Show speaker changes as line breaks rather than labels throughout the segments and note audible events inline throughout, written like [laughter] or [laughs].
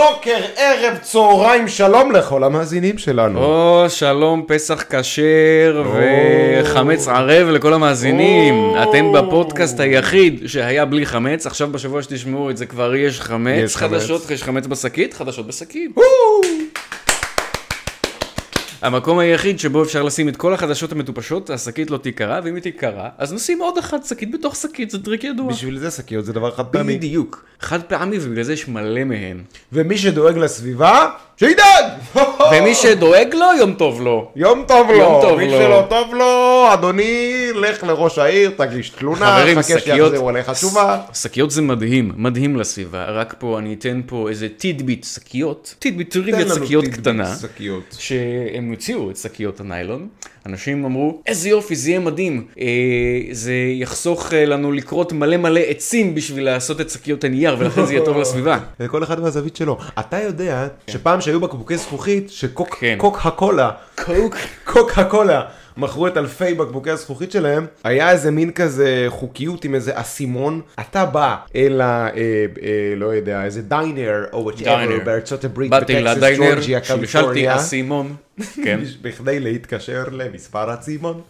בוקר, ערב, צהריים, שלום לכל המאזינים שלנו.
או, שלום, פסח כשר וחמץ ערב לכל המאזינים.
או.
אתם בפודקאסט היחיד שהיה בלי חמץ, עכשיו בשבוע שתשמעו את זה כבר יש חמץ.
יש חמץ.
חדשות, יש חמץ בשקית, חדשות בשקית.
וואו.
המקום היחיד שבו אפשר לשים את כל החדשות המטופשות, השקית לא תיקרע, ואם היא תיקרע, אז נשים עוד אחת שקית בתוך שקית, זה טריק ידוע.
בשביל זה שקיות זה דבר חד פעמי.
בדיוק. חד פעמי, ובגלל זה יש מלא מהן.
ומי שדואג לסביבה, שידאג! [laughs]
ומי שדואג לו, יום טוב לו.
יום טוב לו.
יום טוב
מי
לו.
שלא טוב לו, אדוני, לך לראש העיר, תגיש תלונה,
חברים,
חכה
שקיות,
שיחזירו עליך תשובה.
שקיות זה מדהים, מדהים לסביבה, רק פה אני אתן פה איזה טידביט שקיות, טידביט טריוויית שקיות
טיפ
קטנה,
שקיות.
שהם הוציאו את שקיות הניילון, אנשים אמרו, איזה יופי, זה יהיה מדהים, אה, זה יחסוך אה, לנו לכרות מלא מלא עצים בשביל לעשות את שקיות הנייר, ולכן זה יהיה טוב
[laughs]
לסביבה.
כל אחד מהזווית שלו. אתה יודע שפעם שהיו בקבוקי זכוכית, שקוק
כן.
קוק הקולה
קוק.
קוקה קולה מכרו את אלפי בקבוקי הזכוכית שלהם, היה איזה מין כזה חוקיות עם איזה אסימון. אתה בא אל ה... אה, אה, לא יודע, איזה דיינר או וואטאבר
דיינר.
בארצות הברית,
באתי
בטקסס,
לדיינר,
ג'ורג'יה,
שלשלתי
קליפורניה,
אסימון, כן,
בכדי להתקשר למספר הצימון.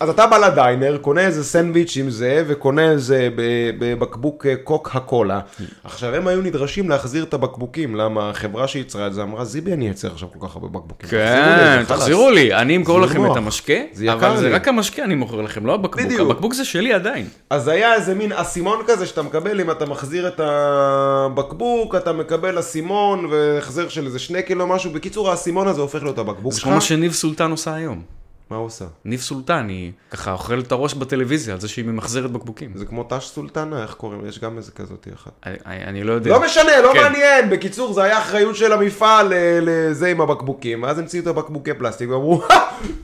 אז אתה בא לדיינר, קונה איזה סנדוויץ' עם זה, וקונה איזה ב- בבקבוק אה, קוק הקולה. עכשיו, הם היו נדרשים להחזיר את הבקבוקים, למה החברה שייצרה את זה אמרה, זיבי, אני אייצר עכשיו כל כך הרבה בקבוקים. תחזירו לי
כן,
את זה, חלאס."
תחזירו לי, אני אמכור
זה
לכם
נוח.
את המשקה,
זה יקר
אבל זה
לי.
רק המשקה אני מוכר לכם, לא הבקבוק,
בדיוק.
הבקבוק זה שלי עדיין.
אז היה איזה מין אסימון כזה שאתה מקבל, אם אתה מחזיר את הבקבוק, אתה מקבל אסימון והחזר של איזה שני קילו משהו. בקיצור, האסימון הזה הופך להיות הבקבוק
זה
שלך.
כמו מה שניב סולטן עושה היום.
מה הוא עושה?
ניב סולטן היא ככה אוכלת את הראש בטלוויזיה על זה שהיא ממחזרת בקבוקים.
זה כמו טאש סולטנה, איך קוראים? יש גם איזה כזאת אחת.
אני- אני אני לא יודע.
לא משנה, לא
כן.
מעניין. בקיצור, זה היה אחריות של המפעל אה, לזה עם הבקבוקים. אז המציאו את הבקבוקי פלסטיק ואמרו, "הא,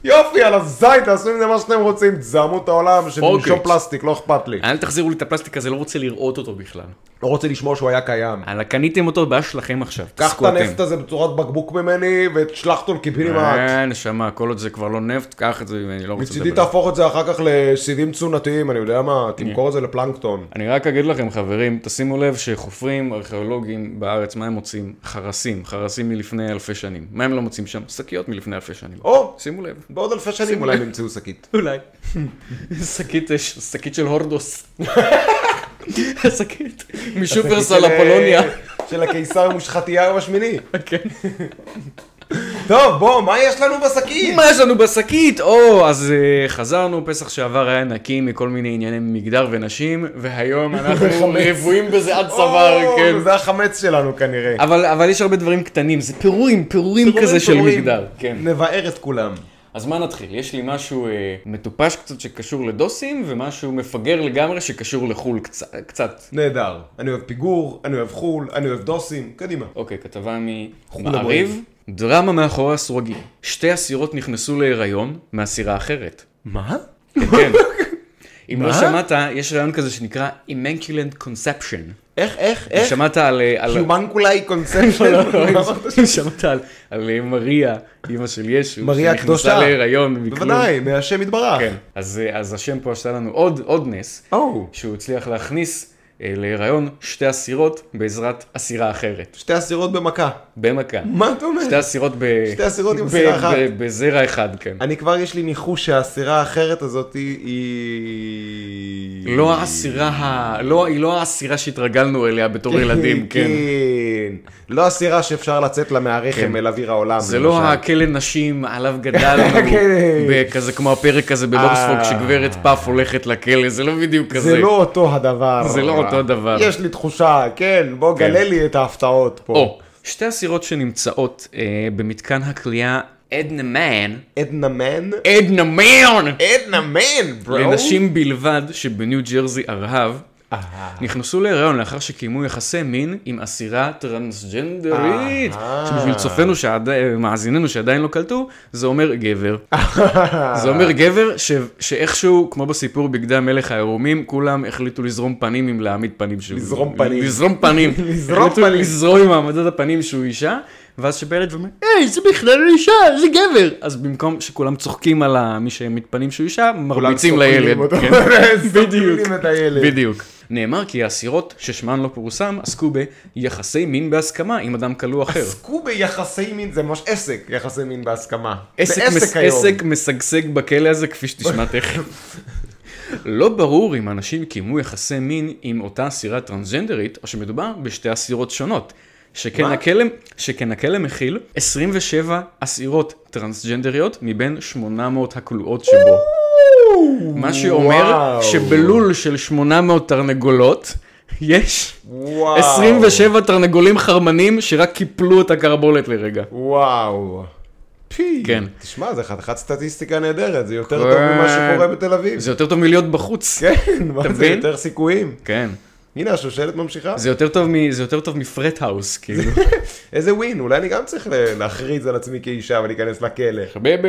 יופי, על הזית, תעשו עם זה מה שאתם רוצים, תזהמו את העולם, שנמשום
אוקיי. אה.
פלסטיק, לא אכפת לי.
אל תחזירו לי את הפלסטיק הזה, לא רוצה לראות אותו בכלל.
לא רוצה לשמוע שהוא היה קיים.
אלא קניתם אותו, בעיה שלכם עכשיו.
קח את
תעסקו אתם.
הנפט הזה בצורת בקבוק ממני, ותשלח אותו לקיבינימט.
אה, נשמה, כל עוד זה כבר לא נפט, קח את זה, אני לא רוצה
מצידי
לדבר.
תהפוך את זה אחר כך לסיבים תזונתיים, אני יודע מה, תמכור את זה לפלנקטון.
אני רק אגיד לכם, חברים, תשימו לב שחופרים ארכיאולוגיים בארץ, מה הם מוצאים? חרסים, חרסים מלפני אלפי שנים. מה הם לא מוצאים שם? שקיות מלפני אלפי שנים.
או,
שימו לב.
בעוד אלפי שנים אולי נמצאו שקית.
אולי. שקית, שקית של הורדוס. שקית משופרסל
השקית של- אה,
אפולוניה.
של הקיסר מושחתיהו השמיני.
כן.
טוב, בוא, מה יש לנו בשקית?
מה יש לנו בשקית? או, אז אה, חזרנו, פסח שעבר היה נקי מכל מיני ענייני מגדר ונשים,
[laughs]
והיום אנחנו
וחמץ.
רבועים בזה עד צוואר,
או,
כן.
זה החמץ שלנו כנראה.
אבל, אבל יש הרבה דברים קטנים, זה פירורים, פירורים
פירורים,
כזה של
פירורים.
מגדר. כן.
נבער את כולם.
אז מה נתחיל? יש לי משהו אה, מטופש קצת שקשור לדוסים, ומשהו מפגר לגמרי שקשור לחו"ל קצ- קצת.
נהדר. אני אוהב פיגור, אני אוהב חול, אני אהב דוסים, קדימה.
אוקיי, כתבה
הבוערים.
ממעריב. דרמה מאחורי הסורגים. שתי אסירות נכנסו להיריון
[laughs]
מאסירה אחרת.
מה?
כן. אם לא
מה?
שמעת, יש רעיון כזה שנקרא Immaculate Conception.
איך, איך,
אם
איך?
שמעת על... אה, על- [laughs]
Humanculai conception.
לא, לא,
[laughs]
לא, [laughs] אם שמעת על- על אה, מריה, אימא של ישו,
מריה הקדושה.
שנכנסה להיריון מכלום.
בוודאי, מהשם יתברך.
כן. אז אה, אז השם פה עשה לנו עוד עוד נס,
או.
שהוא הצליח להכניס אה, להיריון שתי אסירות בעזרת אסירה אחרת.
שתי אסירות במכה.
במכה.
מה אתה אומר?
שתי אסירות ב...
שתי אסירות עם
ב-
סירה אחת.
ב- בזרע אחד, כן.
אני כבר יש לי ניחוש שהאסירה האחרת הזאת היא- היא...
לא האסירה ה... לא, היא לא האסירה שהתרגלנו אליה בתור
[laughs]
ילדים, כן.
כן. לא אסירה שאפשר לצאת לה מהרחם
כן.
אל אוויר העולם.
זה לא
למשל.
הכלא נשים עליו גדלנו,
[laughs] כן.
כזה כמו הפרק הזה
אה.
בבוקספוג שגברת פאף הולכת לכלא, זה לא בדיוק כזה.
זה לא אותו הדבר.
זה לא אותו דבר.
יש לי תחושה, כן, בוא
כן.
גלה לי את ההפתעות פה.
או, שתי אסירות שנמצאות אה, במתקן הכליאה עדנה מן,
עדנה מן?
עדנה מן!
עדנה מן, ברו.
לנשים בלבד שבניו ג'רזי ארהב,
אה.
נכנסו להיריון לאחר שקיימו יחסי מין עם אסירה טרנסג'נדרית.
אהה.
שבשביל צופינו, שעדי- מאזיננו שעדיין לא קלטו, זה אומר גבר.
[laughs]
זה אומר גבר ש- שאיכשהו, כמו בסיפור בגדי המלך העירומים, כולם החליטו לזרום פנים עם להעמיד פנים שהוא...
לזרום פנים.
לזרום פנים.
[laughs] לזרום
החליטו
פנים.
לזרום עם העמדת הפנים שהוא אישה.
ואז שבילד ואומר, היי, זה בכלל לא אישה, זה גבר. אז במקום שכולם צוחקים על ה- מי שמתפנים שהוא אישה, מרביצים
[laughs]
לילד. כן.
בדיוק.
בדיוק.
את הילד.
בדיוק. נאמר כי האסירות, ששמן לא פורסם, עסקו ביחסי מין בהסכמה עם אדם כלוא אחר.
עסקו ביחסי מין, זה ממש עסק, יחסי מין בהסכמה.
עסק,
זה
מס...
עסק היום.
עסק משגשג בכלא הזה, כפי שתשמע תכף. לא ברור אם אנשים קיימו יחסי מין עם אותה אסירה טרנסג'נדרית, או שמדובר בשתי אסירות שונות. שכן
מה?
הכלא, שכן הכלא מכיל 27 אסירות טרנסג'נדריות מבין 800 הכלואות שבו. מה שאומר
וואו.
שבלול של 800 תרנגולות יש
וואו.
27 תרנגולים חרמנים שרק קיפלו את הקרבולת לרגע.
וואו. פי.
כן.
תשמע, זה חתיכת סטטיסטיקה נהדרת, זה יותר טוב ממה שקורה בתל אביב.
זה יותר טוב מלהיות בחוץ.
כן, מה זה
מבין?
יותר סיכויים.
כן.
הנה, השושלת ממשיכה.
זה יותר טוב מ... זה יותר טוב מפרט האוס,
[laughs]
כאילו.
איזה ווין, אולי אני גם צריך ל- להכריז על עצמי כאישה ולהיכנס לכלא.
חביבי,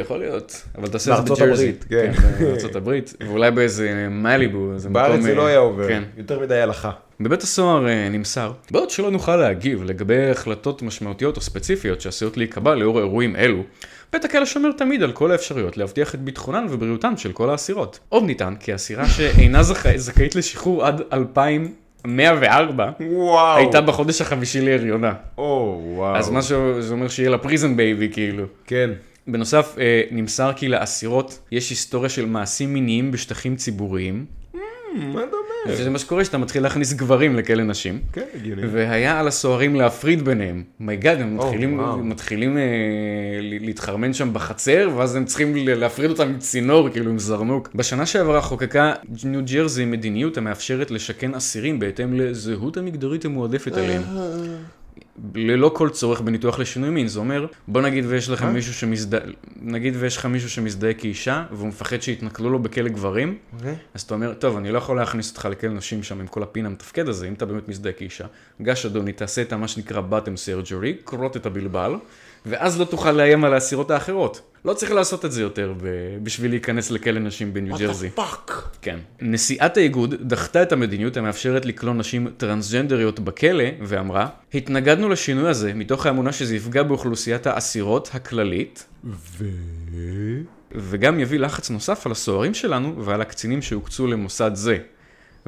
יכול להיות. אבל תעשה את זה
בארצות
בג'רזי.
הברית, כן.
בארצות הברית, ואולי באיזה מליבו, איזה מקום...
בארץ זה לא
אה,
היה עובר,
כן.
יותר מדי הלכה.
בבית הסוהר אה, נמסר, בעוד שלא נוכל להגיב לגבי החלטות משמעותיות או ספציפיות שעשויות להיקבע לאור אירועים אלו, בית הכלא שומר תמיד על כל האפשרויות להבטיח את ביטחונן ובריאותן של כל האסירות. עוד נטען כי אסירה שאינה זכ... זכאית לשחרור עד 2104,
וואו.
הייתה בחודש החמישי להריונה.
או, וואו.
אז מה ש... זה אומר שיהיה לה פריזן בייבי, כאילו.
כן.
בנוסף, אה, נמסר כי לאסירות יש היסטוריה של מעשים מיניים בשטחים ציבוריים.
מה אתה אומר?
שזה מה שקורה, שאתה מתחיל להכניס גברים לכלא נשים.
כן, הגיוני.
והיה על הסוהרים להפריד ביניהם. מייגאד, הם מתחילים,
וואו.
מתחילים אה, ל- להתחרמן שם בחצר, ואז הם צריכים ל- להפריד אותם עם צינור, כאילו עם זרנוק. בשנה שעברה חוקקה ניו ג'רזי מדיניות המאפשרת לשכן אסירים בהתאם לזהות המגדרית המועדפת עליהם. ללא כל צורך בניתוח לשינוי מין, זה אומר, בוא נגיד ויש לך מישהו שמזדהה, נגיד ויש לך מישהו שמזדהה כאישה, והוא מפחד שיתנכלו לו בכלא גברים,
אוקיי.
אז אתה אומר, טוב, אני לא יכול להכניס אותך לכלא נשים שם עם כל הפין המתפקד הזה, אם אתה באמת מזדהה כאישה. גש אדוני, תעשה את מה שנקרא bottom surgery, כרות את הבלבל, ואז לא תוכל לאיים על האסירות האחרות. לא צריך לעשות את זה יותר ב- בשביל להיכנס לכלא נשים בניו ג'רזי.
פאק.
כן. נשיאת האיגוד דחתה את המדיניות המאפשרת לכלוא נשים טרנסג'נדריות בכלא, ואמרה, התנגדנו לשינוי הזה מתוך האמונה שזה יפגע באוכלוסיית האסירות הכללית,
ו...
וגם יביא לחץ נוסף על הסוהרים שלנו ועל הקצינים שהוקצו למוסד זה.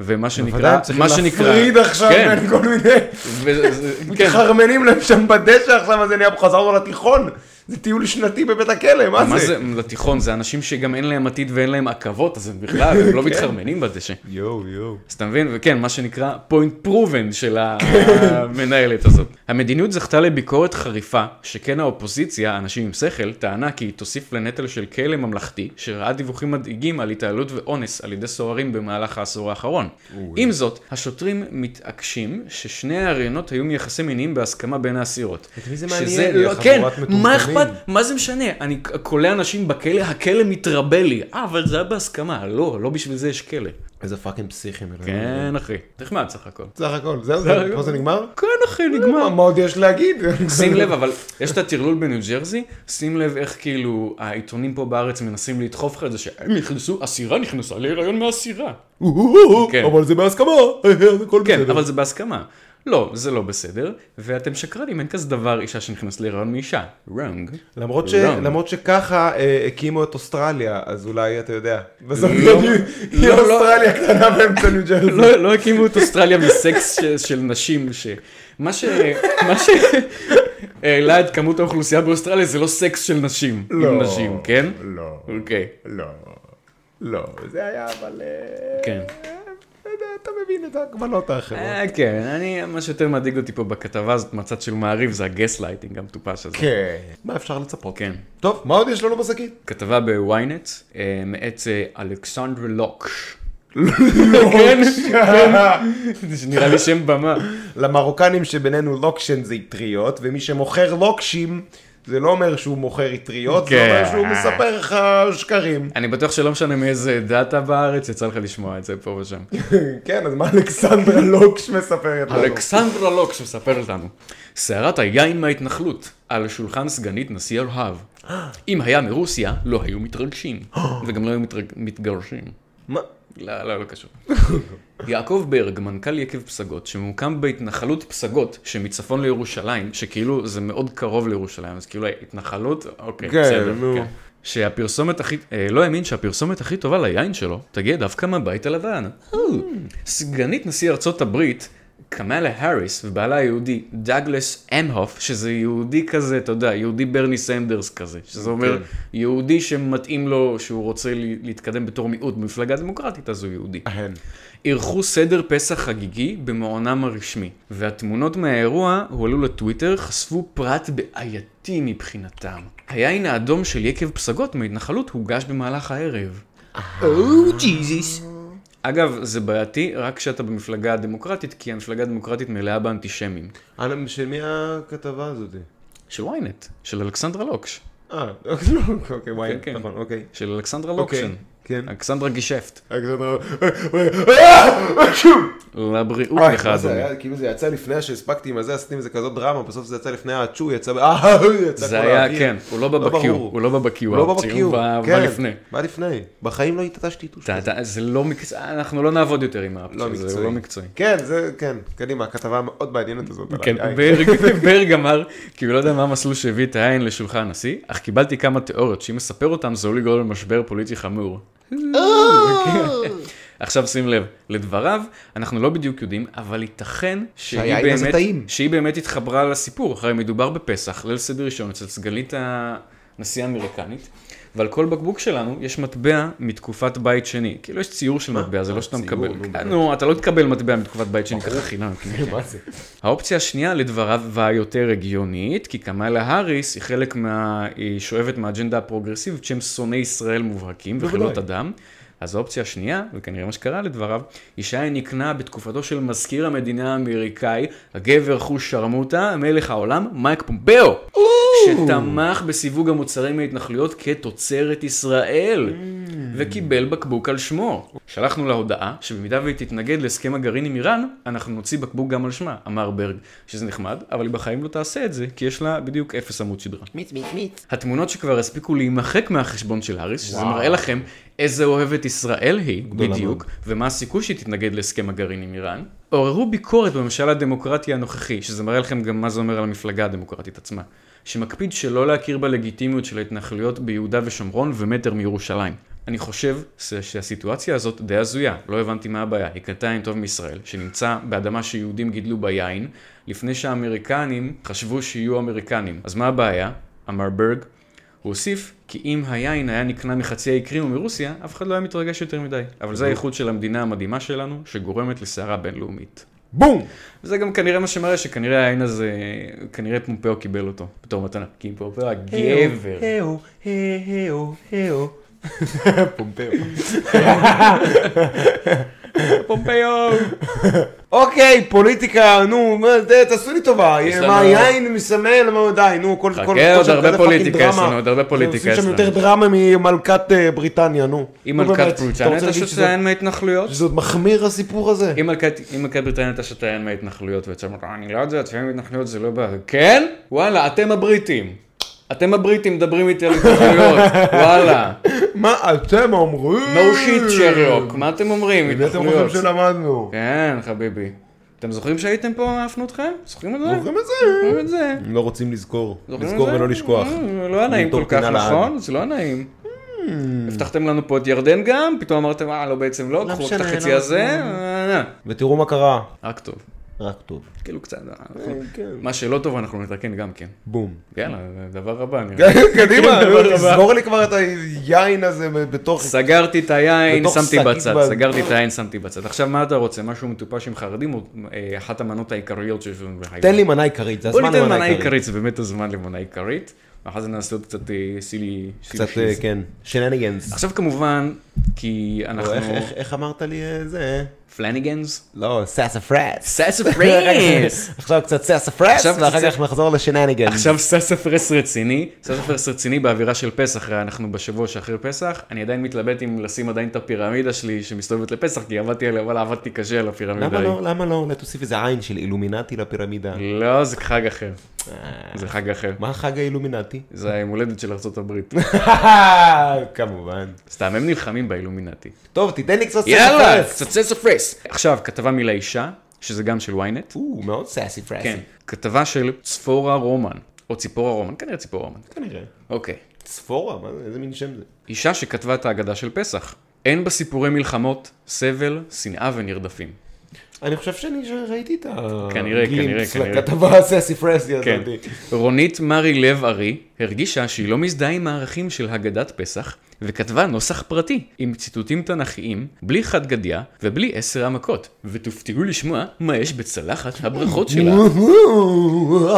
ומה
בוודאי,
שנקרא,
הם צריכים
מה שנקרא,
להפריד עכשיו
כן,
בין כל מיני... [laughs]
וזה- זה- כן,
מתחרמנים להם שם בדשא עכשיו, אז אני חזרנו לתיכון. זה טיול שנתי בבית הכלא, מה זה?
מה זה, לתיכון, זה אנשים שגם אין להם עתיד ואין להם עכבות, אז הם בכלל, הם
[laughs] כן.
לא מתחרמנים בדשא.
יואו, יואו.
אז אתה מבין? וכן, מה שנקרא point proven של
כן.
המנהלת הזאת. המדיניות זכתה לביקורת חריפה, שכן האופוזיציה, אנשים עם שכל, טענה כי היא תוסיף לנטל של כלא ממלכתי, שראה דיווחים מדאיגים על התעללות ואונס על ידי סוהרים במהלך העשור האחרון. עם זאת, השוטרים מתעקשים ששני הראיונות היו מיחסי מיניים בהסכמה בין האסירות.
את מי זה
שזה
מעניין?
לא-
חבורת
כן,
מטומטמים.
מה אכפת? מה זה משנה? אני כולא אנשים בכלא, הכלא מתרבה לי. אה, אבל זה היה בהסכמה. לא, לא בשביל זה יש כלא.
איזה פאקינג פסיכים. אלוהים.
כן, אחי. נחמד סך הכל.
סך הכל, זהו,
סך
זה-
הכל.
פה זה נגמר?
כן, אחי,
מה,
נגמר.
מה עוד יש להגיד?
שים
[laughs]
לב, אבל יש את הטרלול בניו ג'רזי, שים לב איך כאילו העיתונים פה בארץ מנסים לדחוף לך את זה שהם נכנסו, אסירה נכנסה להיריון מהסירה. כן.
אבל זה בהסכמה, [laughs] אז הכל
כן,
בסדר.
אבל זה בהסכמה. לא, זה לא בסדר, ואתם שקרנים, אין כזה דבר אישה שנכנסת להיריון מאישה. wrong.
למרות ש-
לא.
למרות שככה אה, הקימו את אוסטרליה, אז אולי אתה יודע. בסוף
לא,
היא
לא, לא.
אוסטרליה קטנה באמצע ניו ג'רזי.
לא, לא הקימו את אוסטרליה מסקס ש- של נשים, ש... מה ש... מה ש... העלה את כמות האוכלוסייה באוסטרליה זה לא סקס של נשים, עם
לא.
נשים, כן?
לא,
אוקיי,
לא, לא. זה היה אבל... אה,
כן.
אתה יודע, אתה מבין את ההגבלות האחרות.
אה, כן, אני, מה שיותר מדאיג אותי פה בכתבה הזאת, מהצד של מעריב, זה הגס לייטינג המטופש הזה.
כן. מה אפשר לצפות?
כן.
טוב, מה עוד יש לנו בשקית?
כתבה בוויינט, אה, מאת אה, אלכסנדר לוקש.
כן. [laughs]
נראה לי שם במה.
למרוקנים שבינינו לוקשן זה אטריות, ומי שמוכר לוקשים, זה לא אומר שהוא מוכר אטריות, זה
כן.
אומר שהוא מספר לך שקרים.
אני בטוח שלא משנה מאיזה עדה אתה בארץ, יצא לך לשמוע את זה פה
[laughs]
ושם.
כן, אז מה אלכסנדרה לוקש מספרת לנו?
אלכסנדרה לוקש מספרת לנו. סערת היין מההתנחלות, על שולחן סגנית
[gasps]
נשיא ארהב. אם היה מרוסיה, לא היו מתרגשים. וגם לא היו מתרג- מתגרשים.
מה?
לא, לא, לא קשור. יעקב ברג, מנכ"ל יקב פסגות, שממוקם בהתנחלות פסגות, שמצפון לירושלים, שכאילו זה מאוד קרוב לירושלים, אז כאילו התנחלות, אוקיי,
כן,
בסדר.
נו.
כן. שהפרסומת הכי, אה, לא האמין שהפרסומת הכי טובה ליין שלו תגיע דווקא מהבית הלבן.
Hmm.
סגנית נשיא ארצות הברית, קמאלה האריס, ובעלה היהודי דאגלס אמהוף, שזה יהודי כזה, אתה יודע, יהודי ברני סנדרס כזה, שזה אומר יהודי שמתאים לו, שהוא רוצה לי- להתקדם בתור מיעוט במפלגה דמוקרטית, אז הוא יהודי.
אהן.
אירחו סדר פסח חגיגי במעונם הרשמי, והתמונות מהאירוע הועלו לטוויטר, חשפו פרט בעייתי מבחינתם. היין האדום של יקב פסגות מהתנחלות הוגש במהלך הערב.
Oh,
או ג'יזיס.
אגב, זה בעייתי רק כשאתה במפלגה הדמוקרטית, כי המפלגה הדמוקרטית מלאה באנטישמים.
אנא, אה, לא, של מי הכתבה הזאת?
של ynet, של אלכסנדרה לוקש,
אה, [laughs] אוקיי, וואי,
כן.
נכון, אוקיי.
של אלכסנדרה
אוקיי,
לוקשן.
כן.
אלכסנדרה גישפט. לבריאות
וואי,
לך,
מה זה
אדוני.
היה? כאילו זה יצא לפני שהספקתי עם הזה, עשיתי עם זה כזאת דרמה, בסוף זה יצא לפני הצ'ו, יצא... ב- [laughs] אה, יצא
זה
כל
היה,
האוויר.
כן, הוא לא בבקיו,
ברור.
הוא לא בבקיו,
הוא לא
הציון
בבקיאו,
בא
כן.
בא לפני.
בא לפני. בחיים לא התעטשתי טוש.
אתה, אתה, זה לא מקצועי, אנחנו לא נעבוד יותר עם האפציה,
לא
זה
מקצועי.
לא מקצועי.
כן, זה, כן, קדימה, הכתבה המאוד מעניינת הזאת.
כן,
עליי.
ברג, [laughs] ברג אמר, כי הוא לא יודע מה המסלול שהביא את העין לשולחן הנשיא, אך קיבלתי כמה תיאוריות שאם אספר אותן זה עלול לגרום למשבר פוליטי חמור. כן. [laughs] עכשיו שים לב, לדבריו, אנחנו לא בדיוק יודעים, אבל ייתכן שהיא
שהיין הזה
באמת,
טעים.
שהיא באמת התחברה לסיפור, הרי מדובר בפסח, ליל סדר ראשון אצל סגנית הנשיא האמריקנית, ועל כל בקבוק שלנו יש מטבע מתקופת בית שני. כאילו יש ציור של מטבע, זה לא שאתה
ציור,
מקבל.
נו,
אה, נו, אתה לא תקבל מטבע מתקופת בית שני ככה חינם. כן.
מה זה?
האופציה השנייה לדבריו והיותר הגיונית, כי קמאלה האריס היא חלק מה... היא שואבת מהאג'נדה הפרוגרסיבית שהם שונאי ישראל מובהקים וחלות
בוודאי.
אדם. אז האופציה השנייה, וכנראה מה שקרה לדבריו, היא שהיה נקנה בתקופתו של מזכיר המדינה האמריקאי, הגבר חוש שרמוטה, מלך העולם, מייק פומפאו, שתמך בסיווג המוצרים מההתנחלויות כתוצרת ישראל, וקיבל בקבוק על שמו. שלחנו לה הודעה, שבמידה והיא תתנגד להסכם הגרעין עם איראן, אנחנו נוציא בקבוק גם על שמה, אמר ברג, שזה נחמד, אבל היא בחיים לא תעשה את זה, כי יש לה בדיוק אפס עמוד שדרה.
מיץ, מיץ, מיץ.
התמונות שכבר הספיקו להימחק מהחשבון של האריס, שזה מראה לכם איזה אוהבת ישראל היא, בדיוק, ומה הסיכוי שהיא תתנגד להסכם הגרעין עם איראן, עוררו ביקורת בממשל הדמוקרטי הנוכחי, שזה מראה לכם גם מה זה אומר על המפלגה הדמוקרטית עצמה, שמקפיד שלא להכיר בלגיטימיות של ההתנחלויות ביהודה ושומרון ומטר מירושלים. אני חושב ש- שהסיטואציה הזאת די הזויה, לא הבנתי מה הבעיה, היא קנתה עין טוב מישראל, שנמצא באדמה שיהודים גידלו בה יין, לפני שהאמריקנים חשבו שיהיו אמריקנים. אז מה הבעיה? אמר ברג, הוא הוסיף כי אם היין היה נקנה מחצי האי קרים ומרוסיה, אף אחד לא היה מתרגש יותר מדי. אבל זה האיכות של המדינה המדהימה שלנו, שגורמת לסערה בינלאומית.
בום!
וזה גם כנראה מה שמראה שכנראה היין הזה, כנראה פומפאו קיבל אותו בתור מתנה. כי פומפאו היה גבר.
היו, היו, היו.
פומפאו.
פומפאו!
אוקיי, פוליטיקה, נו, מה זה, תעשו לי טובה,
לנו-
מה היין מסמל, מה די, נו, כל...
חכה,
כל-
עוד
כל-
הרבה
כזה פאקינג
פוליטיקה
דרמה.
יש לנו, עוד הרבה פוליטיקה יש
עושים
לנו.
שם יותר דרמה ממלכת אה, בריטניה, נו.
אם
נו, באמת,
מלכת
אתה
בריטניה
רוצה
אתה
להגיד
שותה
שזה-
עין מההתנחלויות?
שזה עוד מחמיר הסיפור הזה?
אם מלכת- אם מלכת בריטניה הייתה שותה עין מההתנחלויות, והייתה אומרת, אני לא יודעת, שהם מההתנחלויות זה לא בעיה. כן? וואלה, אתם הבריטים. אתם הבריטים מדברים איתי על התנחלויות,
[laughs]
וואלה.
מה אתם אומרים?
No shit שרלוק, מה אתם אומרים?
מי אתם
התנחלויות.
חושבים שלמדנו?
כן, חביבי. אתם זוכרים שהייתם פה, עפנו אתכם? זוכרים את זה?
זוכרים את זה?
זוכרים את זה?
לא רוצים לזכור.
זוכרים את
לזכור
זה?
ולא לשכוח.
אה, לא היה נעים כל
למטור
כך,
פינה לעד.
נכון? זה לא היה נעים.
Hmm.
הבטחתם לנו פה את ירדן גם, פתאום אמרתם, אה, לא בעצם לא, קחו את
משנה,
החצי
לא,
הזה, אה, אה.
ותראו מה קרה.
רק טוב.
רק טוב.
כאילו קצת,
כן,
אנחנו- מה שלא טוב אנחנו נתקן גם כן. [laughs]
בום.
יאללה, דבר הבא.
[laughs]
נראה לי. [laughs]
קדימה,
דבר הבא.
תסגור לי כבר את היין הזה בתוך...
סגרתי את היין,
בתוך
שמתי
שקית
בצד,
בד-
סגרתי את היין, שמתי בצד. עכשיו מה אתה רוצה? משהו מטופש עם חרדים או אה, אחת המנות העיקריות שיש לנו בהייטק?
תן לי מנה עיקרית, זה הזמן
בוא ניתן
למנה
מנה
עיקרית.
עיקרית, זה באמת הזמן למנה עיקרית. ואחרי זה נעשה עוד קצת אה, סילי... סילי
קצת, אה,
שיז.
כן, שנניגנס.
עכשיו כמובן, כי אנחנו...
איך אמרת לי אה, זה?
פלניגנס?
לא, סאספרס. [laughs]
סספרס!
עכשיו קצת סאספרס,
עכשיו
ואחר
קצת-
כך נחזור לשנניגנס.
עכשיו סספרס רציני, סספרס רציני באווירה של פסח, הרי אנחנו בשבוע שאחרי פסח, אני עדיין מתלבט אם לשים עדיין את הפירמידה שלי שמסתובבת לפסח, כי עבדתי עליה, וואלה עבדתי קשה על הפירמידה.
למה
ההיא. אה.
לא, למה לא, אולי תוסיף איזה עין של אילומינטי לפירמידה.
לא, זה חג אחר. זה חג אחר.
מה החג האילומינטי? [laughs]
זה היום הולדת של ארה"ב.
כמובן.
[laughs] סתם, הם נלחמים באילומינטי.
טוב, תיתן לי קצת
יאללה,
סרט.
קצת סס הפרס. עכשיו, כתבה מילה אישה, שזה גם של ynet.
הוא מאוד סאסי פרסי.
כן. כתבה של צפורה רומן, או ציפורה רומן, כנראה ציפורה רומן.
כנראה.
אוקיי.
צפורה, מה זה? איזה מין שם זה?
אישה שכתבה את ההגדה של פסח. אין בה סיפורי מלחמות, סבל, שנאה ונרדפים.
אני חושב שאני ראיתי את ה...
כנראה,
גלימפס
כנראה, כנראה.
לכתבה הסאסי פרסי
כן.
הזאת.
רונית מרי לב ארי הרגישה שהיא לא מזדהה עם הערכים של הגדת פסח, וכתבה נוסח פרטי עם ציטוטים תנכיים, בלי חד גדיה ובלי עשר המכות. ותופתעו לשמוע מה יש בצלחת
Mm.
הברכות שלה.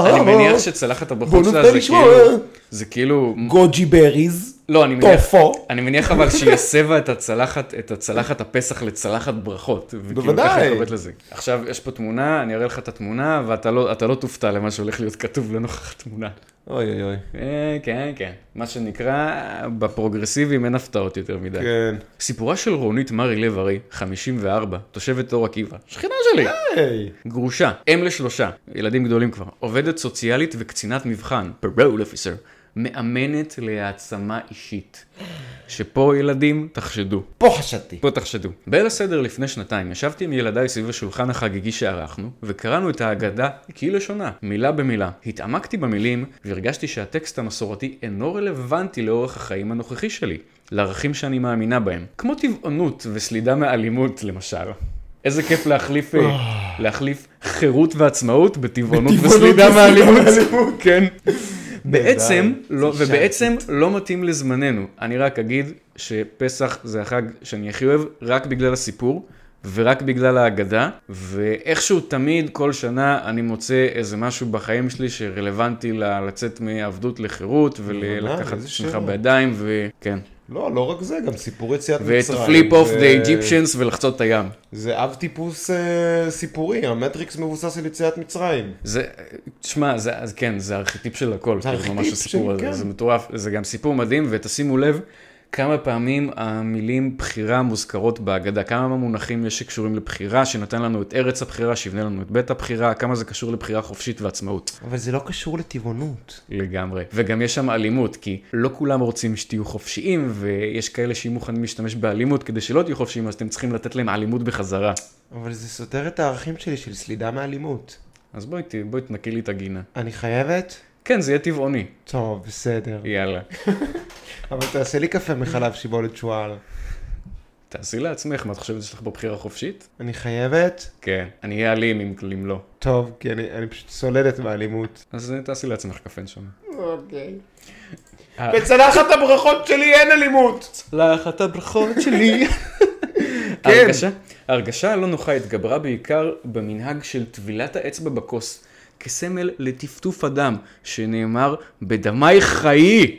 אני מניח שצלחת הברכות
אה, בוא
שלה
נופתע
זה
לשמוע. אה.
כאילו... זה כאילו...
גוג'י בריז.
לא, אני מניח...
טופו.
אני מניח אבל שהיא הסבה את הצלחת, את הצלחת הפסח לצלחת ברכות. וכאילו,
בוודאי.
ככה היא קוראת לזה. עכשיו, יש פה תמונה, אני אראה לך את התמונה, ואתה לא, אתה לא תופתע למה שהולך להיות כתוב לנוכח התמונה.
אוי אוי אוי.
אה, כן, כן. מה שנקרא, בפרוגרסיבים אין הפתעות יותר מדי.
כן.
סיפורה של רונית מרי לב ארי, 54, תושבת אור עקיבא, שכינה שלי.
היי.
גרושה, אם לשלושה, ילדים גדולים כבר, עובדת סוציאלית וקצינת מבחן, parole officer, מאמנת להעצמה אישית. שפה ילדים, תחשדו.
פה חשדתי.
פה תחשדו. בליל הסדר לפני שנתיים ישבתי עם ילדיי סביב השולחן החגיגי שערכנו, וקראנו את ההגדה כלשונה, מילה במילה. התעמקתי במילים, והרגשתי שהטקסט המסורתי אינו רלוונטי לאורך החיים הנוכחי שלי, לערכים שאני מאמינה בהם. כמו טבעונות וסלידה מאלימות, למשל. איזה כיף להחליף, אה, להחליף חירות ועצמאות בטבעונות וסלידה מאלימות. כן. בעצם, לא,
אישה
ובעצם לא מתאים לזמננו. אני רק אגיד שפסח זה החג שאני הכי אוהב, רק בגלל הסיפור. ורק בגלל ההגדה, ואיכשהו תמיד, כל שנה, אני מוצא איזה משהו בחיים שלי שרלוונטי ל- לצאת מעבדות לחירות ולקחת את
איזה
עצמך
שאלה.
בידיים, וכן.
לא, לא רק זה, גם סיפור יציאת
ואת
מצרים.
ה-flip off
זה-
the Egyptians ולחצות את הים.
זה אב טיפוס אה, סיפורי, המטריקס מבוסס על יציאת מצרים.
זה, תשמע, זה, אז כן, זה ארכיטיפ של הכל.
זה
כאילו,
ארכיטיפ
ממש הסיפור
של-
הזה,
כן.
זה מטורף, זה גם סיפור מדהים, ותשימו לב כמה פעמים המילים בחירה מוזכרות בהגדה, כמה מונחים יש שקשורים לבחירה, שנתן לנו את ארץ הבחירה, שיבנה לנו את בית הבחירה, כמה זה קשור לבחירה חופשית ועצמאות.
אבל זה לא קשור לטבעונות.
לגמרי. וגם יש שם אלימות, כי לא כולם רוצים שתהיו חופשיים, ויש כאלה שיהיו מוכנים להשתמש באלימות כדי שלא תהיו חופשיים, אז אתם צריכים לתת להם אלימות בחזרה.
אבל זה סותר את הערכים שלי של סלידה מאלימות.
אז בואי, ת- בואי תנקי לי את הגינה.
אני חייבת?
כן, זה יהיה טבעוני.
טוב, בסדר.
יאללה.
אבל תעשה לי קפה מחלב שיבולת שועל.
תעשי לעצמך, מה את חושבת שיש לך בבחירה חופשית?
אני חייבת?
כן. אני אהיה אלים אם, אם לא.
טוב, כי אני, אני פשוט סולדת מאלימות.
אז אה, תעשי לעצמך קפה נשמה.
אוקיי.
אה.
בצלחת הברכות שלי אין אלימות!
לאחת הברכות
[laughs]
שלי. אה,
כן.
ההרגשה, ההרגשה הלא לא נוחה התגברה בעיקר במנהג של טבילת האצבע בכוס, כסמל לטפטוף הדם, שנאמר בדמייך חיי.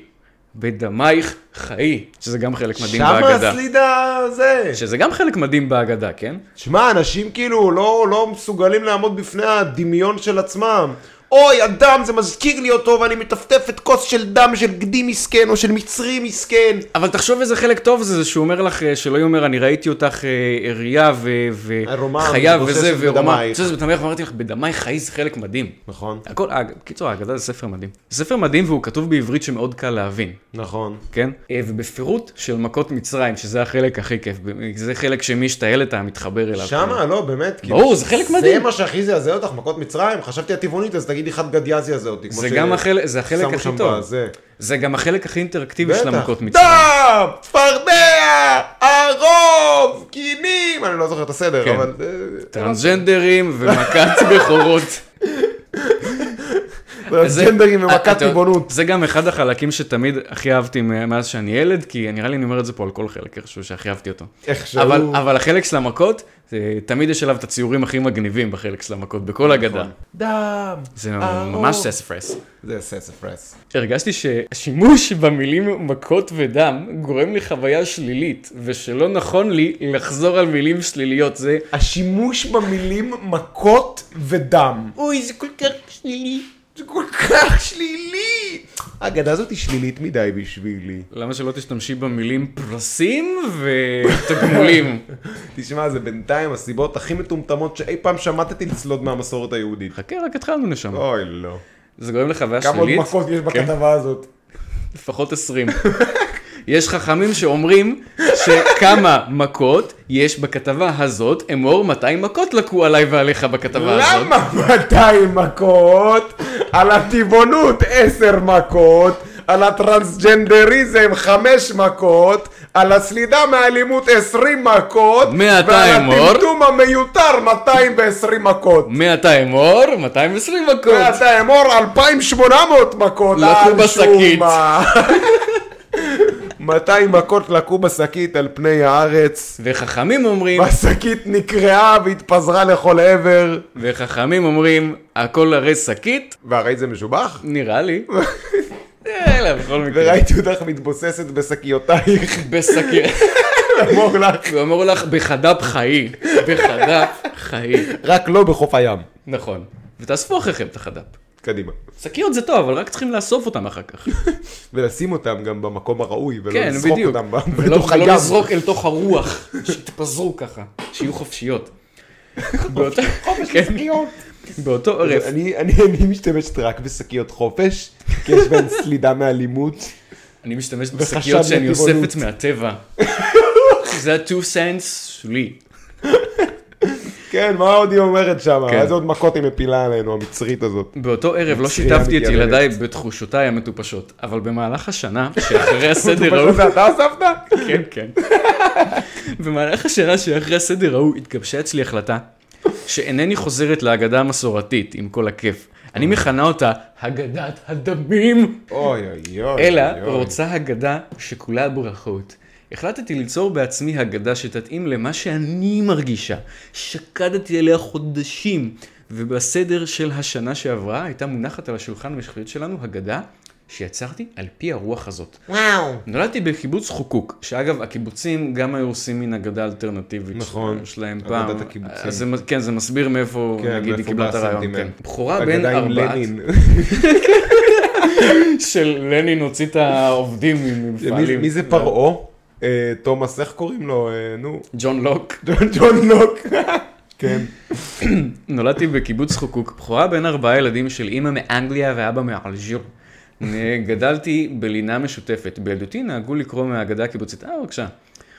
בדמייך חיי. שזה גם חלק מדהים
שמה
בהגדה.
הסלידה זה.
שזה גם חלק מדהים בהגדה, כן?
שמע, אנשים כאילו לא, לא מסוגלים לעמוד בפני הדמיון של עצמם. אוי, הדם, זה מזכיר לי אותו, ואני מטפטפת כוס של דם של גדי מסכן, או של מצרי מסכן.
אבל תחשוב איזה חלק טוב זה, זה שהוא אומר לך, אה, שלא יאמר, אני ראיתי אותך אה, עריה ו-
ערומה
וחיה
מתבוססת
וזה, וערומה,
בדמייך.
מתבוססת בדמייך, ואמרתי לך, בדמייך חיי זה חלק מדהים.
נכון,
הכל, אה, בקיצור, ההגדה זה ספר מדהים. זה ספר מדהים והוא כתוב בעברית שמאוד קל להבין,
נכון.
כן? אה, ובפירוט של מכות מצרים, שזה החלק הכי כיף, ב- זה חלק שמי שטייל אתה מתחבר אליו. כן?
שמה, לא, באמת. כאילו,
ברור, זה חלק
זה
מדהים.
מה שהכי זעזע אותך, מכות מצרים? חשבתי הטבעונית, אז תגידי חד גדיה זעזע אותי. כמו
זה
ש-
גם החלק, זה החלק
שמו
הכי
שם
טוב.
בזה.
זה גם החלק הכי אינטראקטיבי של
בטח.
המכות מצרים.
דם! צפרדע! ערוב! קינים! אני לא זוכר את הסדר,
כן.
אבל... אה,
טרנסג'נדרים ומכת
[laughs]
בכורות. זה- אה,
טרנסג'נדרים
אתה-
ומכת ריבונות.
זה גם אחד החלקים שתמיד הכי אהבתי מאז שאני ילד, כי נראה לי אני אומר את זה פה על כל חלק איכשהו שהכי אהבתי אותו.
איכשהו.
אבל, אבל החלק של המכות, זה- תמיד יש עליו את הציורים הכי מגניבים בחלק של המכות, בכל
נכון.
הגדה.
דם!
זה
אהוב.
ממש סספרס.
זה סספרס.
הרגשתי שהשימוש במילים מכות ודם גורם לי חוויה שלילית, ושלא נכון לי לחזור על מילים שליליות. זה
השימוש במילים מכות ודם. אוי, זה כל כך שלילי. זה כל כך שלילי! האגדה הזאת היא שלילית מדי בשבילי.
למה שלא תשתמשי במילים פרסים
[laughs]
ותגמולים?
תשמע, זה בינתיים הסיבות הכי מטומטמות שאי פעם שמטתי לצלוד מהמסורת היהודית.
חכה, רק התחלנו נשמה.
אוי, לא.
זה גורם לחוויה
כמה עוד
שלילית, כן.
מכות יש בכתבה הזאת.
לפחות 20. יש חכמים שאומרים שכמה מכות יש בכתבה הזאת, אמור 200 מכות לקו עליי ועליך בכתבה הזאת.
למה 200 מכות? על הטבעונות 10 מכות, על הטרנסג'נדריזם 5 מכות, על הסלידה מאלימות 20 מכות,
200
ועל
עוד.
הטמטום המיותר 220 מכות.
100 אמור, 220 מכות.
ואתה אמור 2,800 מכות.
לקו
על
בשקית.
שומה. [laughs] 200 מכות לקו בשקית על פני
[laughs]
הארץ.
וחכמים אומרים,
והשקית נקרעה והתפזרה לכל עבר.
וחכמים אומרים, הכל הרי שקית,
והרי זה משובח?
נראה לי. אלא בכל מקרה.
וראיתי אותך מתבוססת
[laughs]
בשקיותייך,
בשקית.
אמור לך,
הוא אומר לך, בחד"פ חיי. בחד"פ חיי.
רק לא בחוף הים.
נכון. ותאספו אחריכם את החד"פ.
קדימה.
שקיות זה טוב, אבל רק צריכים לאסוף אותם אחר כך.
ולשים אותם גם במקום הראוי, ולא
כן,
לזרוק
בדיוק.
אותם ב-
ולא
בתוך
ולא
הים.
לזרוק אל תוך הרוח, שיתפזרו ככה, שיהיו חופשיות. באותה- כן. [laughs]
שקיות.
באותו עורף,
אני אני- אני משתמשת רק בשקיות חופש, כי יש בהן סלידה מאלימות.
אני משתמש
וחשד
בשקיות שאני
לטבעונות.
אוספת מהטבע. זה ה-2 cents שלי.
כן, מה עוד היא אומרת שם?
כן.
איזה עוד מכות היא מפילה עלינו, המצרית הזאת.
באותו ערב לא
מצחייה
שיתפתי את
מתיימרת.
ילדיי בתחושותיי המטופשות, אבל במהלך השנה, שאחרי הסדר
פשוט
ההוא,
זה אתה אספת?
כן, כן. במהלך השנה שאחרי הסדר ההוא התגבשה אצלי החלטה שאינני חוזרת להגדה המסורתית, עם כל הכיף. אני מכנה אותה הגדת הדמים.
אוי אוי אוי.
אלא
אוי, אוי.
רוצה הגדה שכולה ברכות. החלטתי ליצור בעצמי הגדה שתתאים למה שאני מרגישה. שקדתי עליה חודשים, ובסדר של השנה שעברה הייתה מונחת על השולחן המשחרית שלנו הגדה שיצרתי על פי הרוח הזאת.
וואו.
נולדתי בקיבוץ חוקוק, שאגב, הקיבוצים גם היו עושים מין אגדה אלטרנטיבית
נכון,
ש- שלהם
אגדת
פעם.
הקיבוצים.
אז זה, מ- כן, זה מסביר מאיפה,
כן,
נגיד, היא
מאיפה
קיבלה את
בא
הרעיון. כן.
הסנטימנט.
בחורה בין
אגדה עם
ארבעת...
לנין.
[laughs] של לנין הוציא את העובדים
מי-
ממפעלים.
מי זה פרעה? אה, תומאס, איך קוראים לו? אה, נו.
ג'ון לוק.
ג'ון- [laughs] ג'ון לוק. כן.
נולדתי בקיבוץ חוקוק, בכורה בין ארבעה ילדים של אימא מאנגליה ואבא מאלג'יר. נ- גדלתי בלינה משותפת. בילדותי נהגו לקרוא מהאגדה הקיבוצית, אה בבקשה,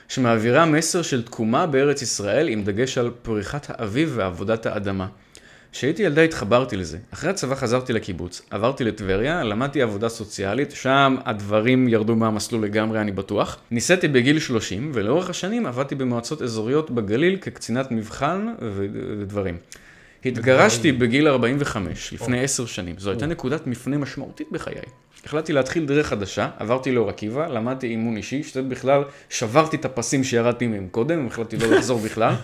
שמעבירה מסר של תקומה בארץ ישראל עם דגש על פריחת האביב ועבודת האדמה. כשהייתי ילדה התחברתי לזה. אחרי הצבא חזרתי לקיבוץ, עברתי לטבריה, למדתי עבודה סוציאלית, שם הדברים ירדו מהמסלול לגמרי, אני בטוח. ניסיתי בגיל 30, ולאורך השנים עבדתי במועצות אזוריות בגליל כקצינת מבחן ו- ודברים. התגרשתי בגיל 45, לפני עשר שנים. זו הייתה נקודת מפנה משמעותית בחיי. החלטתי להתחיל דרך חדשה, עברתי לאור עקיבא, למדתי אימון אישי, שזה בכלל, שברתי את הפסים שירדתי מהם קודם, החלטתי לא לחזור בכלל.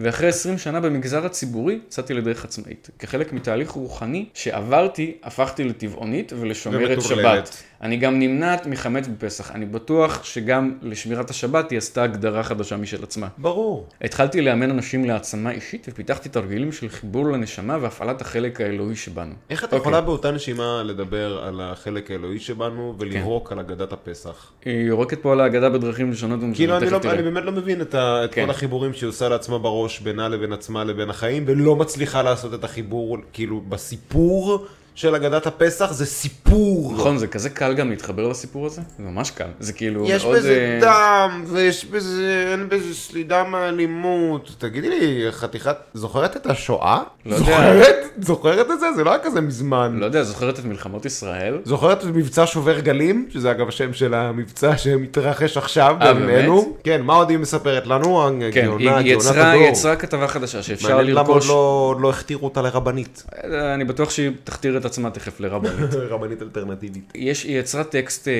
ואחרי 20 שנה במגזר הציבורי, יצאתי לדרך עצמאית. כחלק מתהליך רוחני שעברתי, הפכתי לטבעונית ולשומרת
ומטורללת.
שבת. אני גם נמנעת מחמץ בפסח. אני בטוח שגם לשמירת השבת היא עשתה הגדרה חדשה משל עצמה.
ברור.
התחלתי לאמן אנשים להעצמה אישית ופיתחתי תרגילים של חיבור לנשמה והפעלת החלק האלוהי שבנו.
איך את
אוקיי.
יכולה באותה נשימה לדבר על החלק האלוהי שבנו ולירוק על אגדת הפסח?
היא יורקת פה על ההגדה בדרכים לשונות ומשונות,
כן. כאילו אני,
תכף
לא,
תראה.
אני באמת לא מבין את, ה, את
כן.
כל החיבורים שהיא עושה לעצמה בראש בינה לבין עצמה לבין החיים ולא מצליחה לעשות את החיבור כאילו בסיפור של אגדת הפסח זה סיפור.
נכון, זה כזה קל גם להתחבר לסיפור הזה? זה ממש קל. זה כאילו
יש
מאוד...
בזה
אה,
דם ויש בזה, אין בזה סלידה מאלימות. תגידי לי, חתיכת, זוכרת את השואה?
לא יודע.
זוכרת? זוכרת את זה? זה לא היה כזה מזמן.
לא יודע, זוכרת את מלחמות ישראל?
זוכרת את מבצע שובר גלים, שזה אגב השם של המבצע שמתרחש עכשיו
אה,
בימינו? כן, מה עוד היא מספרת לנו? הגאונה,
כן, היא
גאונת
היא יצרה-
הדור.
היא יצרה כתבה חדשה שאפשר
מעניין למה עוד
לרכוש.
לא, עוד לא הכתירו אותה
[laughs]
לרבנית.
אה, אני בטוח שהיא תכתיר את עצמה תכף לרבנית.
רבנית אלטרנטיבית.
יש, היא יצרה טקסט, אה,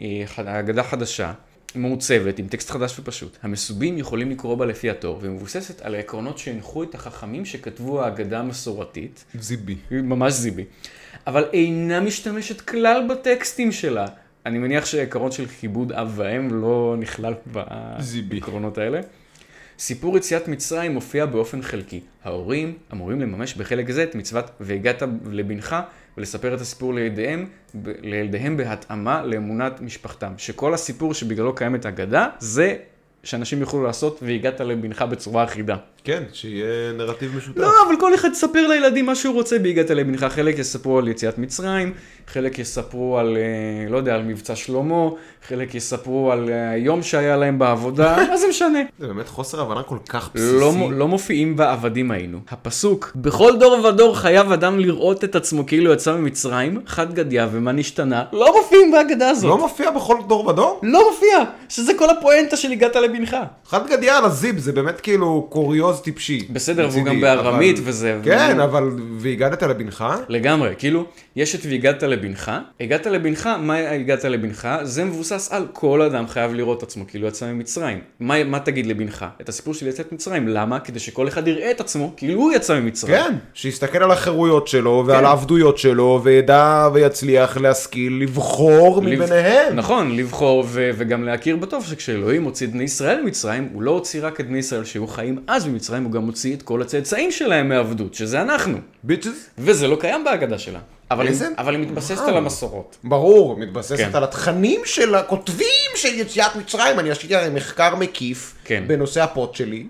אה, ח- אגדה חדשה, מעוצבת, עם טקסט חדש ופשוט. המסובים יכולים לקרוא בה לפי התור, ומבוססת על העקרונות שהנחו את החכמים שכתבו האגדה המסורתית,
זיבי.
היא ממש זיבי, אבל אינה משתמשת כלל בטקסטים שלה. אני מניח שהעיקרון של כיבוד אב ואם לא נכלל
זיבי.
בעקרונות האלה. סיפור יציאת מצרים מופיע באופן חלקי. ההורים אמורים לממש בחלק זה את מצוות והגעת לבנך ולספר את הסיפור לילדיהם, ב- לילדיהם בהתאמה לאמונת משפחתם. שכל הסיפור שבגללו קיימת אגדה זה שאנשים יוכלו לעשות, והגעת לבנך בצורה אחידה.
כן, שיהיה נרטיב משותף.
לא, אבל כל אחד יספר לילדים מה שהוא רוצה בהגעת לבנך. חלק יספרו על יציאת מצרים, חלק יספרו על, אה, לא יודע, על מבצע שלמה, חלק יספרו על אה, היום שהיה להם בעבודה, [laughs] מה זה משנה?
זה באמת חוסר הבנה כל כך בסיסי.
לא, מ- לא מופיעים בעבדים היינו. הפסוק, בכל דור ודור חייב אדם לראות את עצמו כאילו יצא ממצרים, חד גדיא ומה נשתנה, לא מופיעים בהגדה הזאת.
לא מופיע בכל דור ודור?
לא מופיע, שזה כל הפואנטה של הגעת לבנך.
חד גדיא על הזיב זה באמת כאילו קוריוז טיפשי.
בסדר, והוא
מצידי,
גם בארמית
אבל-
וזה-
כן,
והוא-
אבל והגדת לבנך?
לגמרי, כאילו, יש את והגעת לבנך, הגעת לבנך, מה הגעת לבנך? זה מבוסס על כל אדם חייב לראות את עצמו, כאילו יצא ממצרים. מה, מה תגיד לבנך? את הסיפור של יציאת מצרים, למה? כדי שכל אחד יראה את עצמו, כאילו הוא יצא ממצרים.
כן, שיסתכל על החירויות שלו
כן.
ועל העבדויות שלו וידע ויצליח להשכיל לבחור
לב-
מביניהם.
נכון, לבחור ו- וגם להכיר בטוב שכשאלוהים הוציא את בני ישראל ממצרים, הוא לא הוציא רק את בני ישראל שהיו חיים אז במצרים, הוא גם הוציא את כל הצאצאים שלהם מעבדות, שזה אנחנו.
ביצ'ס.
וזה לא קיים בהגדה שלה. אבל היא-
איזה? נכון.
אבל היא מתבססת
וואו.
על המסורות.
אה. ברור, מתבססת
כן.
על התכנים של הכותבים של יציאת מצרים. אני עשיתי הרי מחקר מקיף
כן.
בנושא הפוד שלי,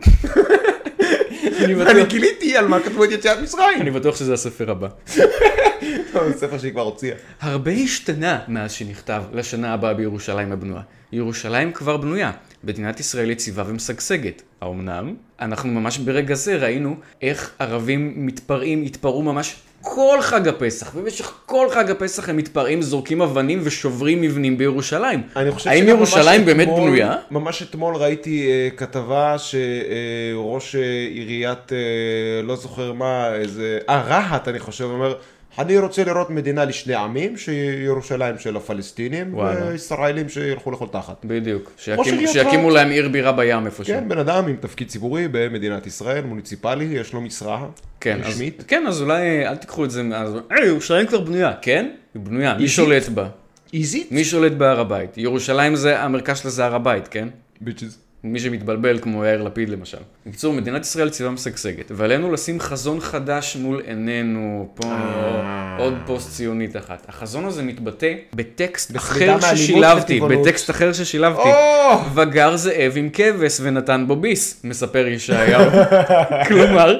אני
ואני
בטוח-
גיליתי על מה כתבו את יציאת מצרים.
אני בטוח שזה הספר הבא.
זה ספר שהיא כבר הוציאה.
הרבה השתנה מאז שנכתב לשנה הבאה בירושלים הבנויה. ירושלים כבר בנויה, מדינת ישראל יציבה ומשגשגת. האמנם? אנחנו ממש ברגע זה ראינו איך ערבים מתפרעים, התפרעו ממש כל חג הפסח. במשך כל חג הפסח הם מתפרעים, זורקים אבנים ושוברים מבנים בירושלים.
אני חושב
האם
שגם ממש
ירושלים באמת
אתמול-
בנויה?
ממש אתמול ראיתי אה, כתבה שראש עיריית, אה, לא זוכר מה, איזה, אה, רהט, אני חושב, אומר, אני רוצה לראות מדינה לשני עמים, שירושלים של הפלסטינים,
וואלה.
וישראלים שילכו לכל תחת.
בדיוק.
ראש
שיקימו,
עיריית
שיקימו
רהט.
להם עיר בירה בים איפשהו.
כן, בן אדם עם תפקיד ציבורי במדינת ישראל, מוניציפלי, יש לו משרה
כן, אז,
רשמית.
כן, אז אולי אה, אל תיקחו את זה, אז אה, ירושלים כבר בנויה, כן? היא בנויה, מי שולט בה?
איזית?
מי שולט בהר הבית? ירושלים זה, המרכז שלה זה הר הבית, כן?
ביצ'יז.
מי שמתבלבל כמו יאיר לפיד למשל. בקיצור, מדינת ישראל ציבה משגשגת, ועלינו לשים חזון חדש מול עינינו, פה
אה.
עוד פוסט ציונית אחת. החזון הזה מתבטא בטקסט
בסלידה
אחר
מאלימות
ששילבתי,
וטבעונות.
בטקסט אחר ששילבתי. וגר זאב עם כבש ונתן בו ביס, מספר ישעיהו. [laughs] כלומר,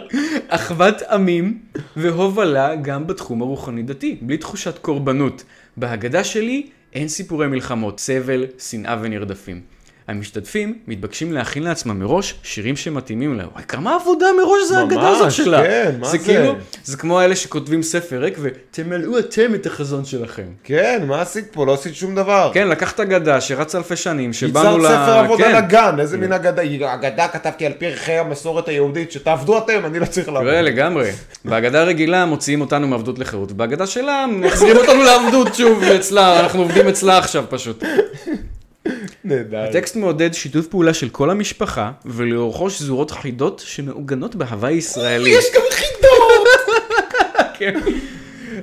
אחוות עמים והובלה גם בתחום הרוחני-דתי, בלי תחושת קורבנות. בהגדה שלי אין סיפורי מלחמות, סבל, שנאה ונרדפים. המשתתפים מתבקשים להכין לעצמם מראש שירים שמתאימים להם. וואי, כמה עבודה מראש זה
ממש,
ההגדה הזאת שלה.
כן, מה זה?
זה כאילו, זה כמו אלה שכותבים ספר ריק ותמלאו אתם את החזון שלכם.
כן, מה עשית פה? לא עשית שום דבר.
כן, לקחת אגדה שרצה אלפי שנים, שבאנו
ייצרת
ל...
ספר
כן.
עבודה לגן, איזה מין אגדה, אגדה כתבתי על פי ערכי המסורת היהודית, שתעבדו אתם, אני לא צריך לעבוד.
תראה, לגמרי. בהגדה הרגילה מוציאים אותנו מעבדות לחירות, בהגדה [laughs] שלה מחזירים אותנו לעבדות שוב אצלה, אנחנו עובדים אצלה עכשיו פשוט.
נהדר.
הטקסט מעודד שיתוף פעולה של כל המשפחה, ולאורכו שזורות חידות שמעוגנות בהוואי ישראלי.
יש גם חידות!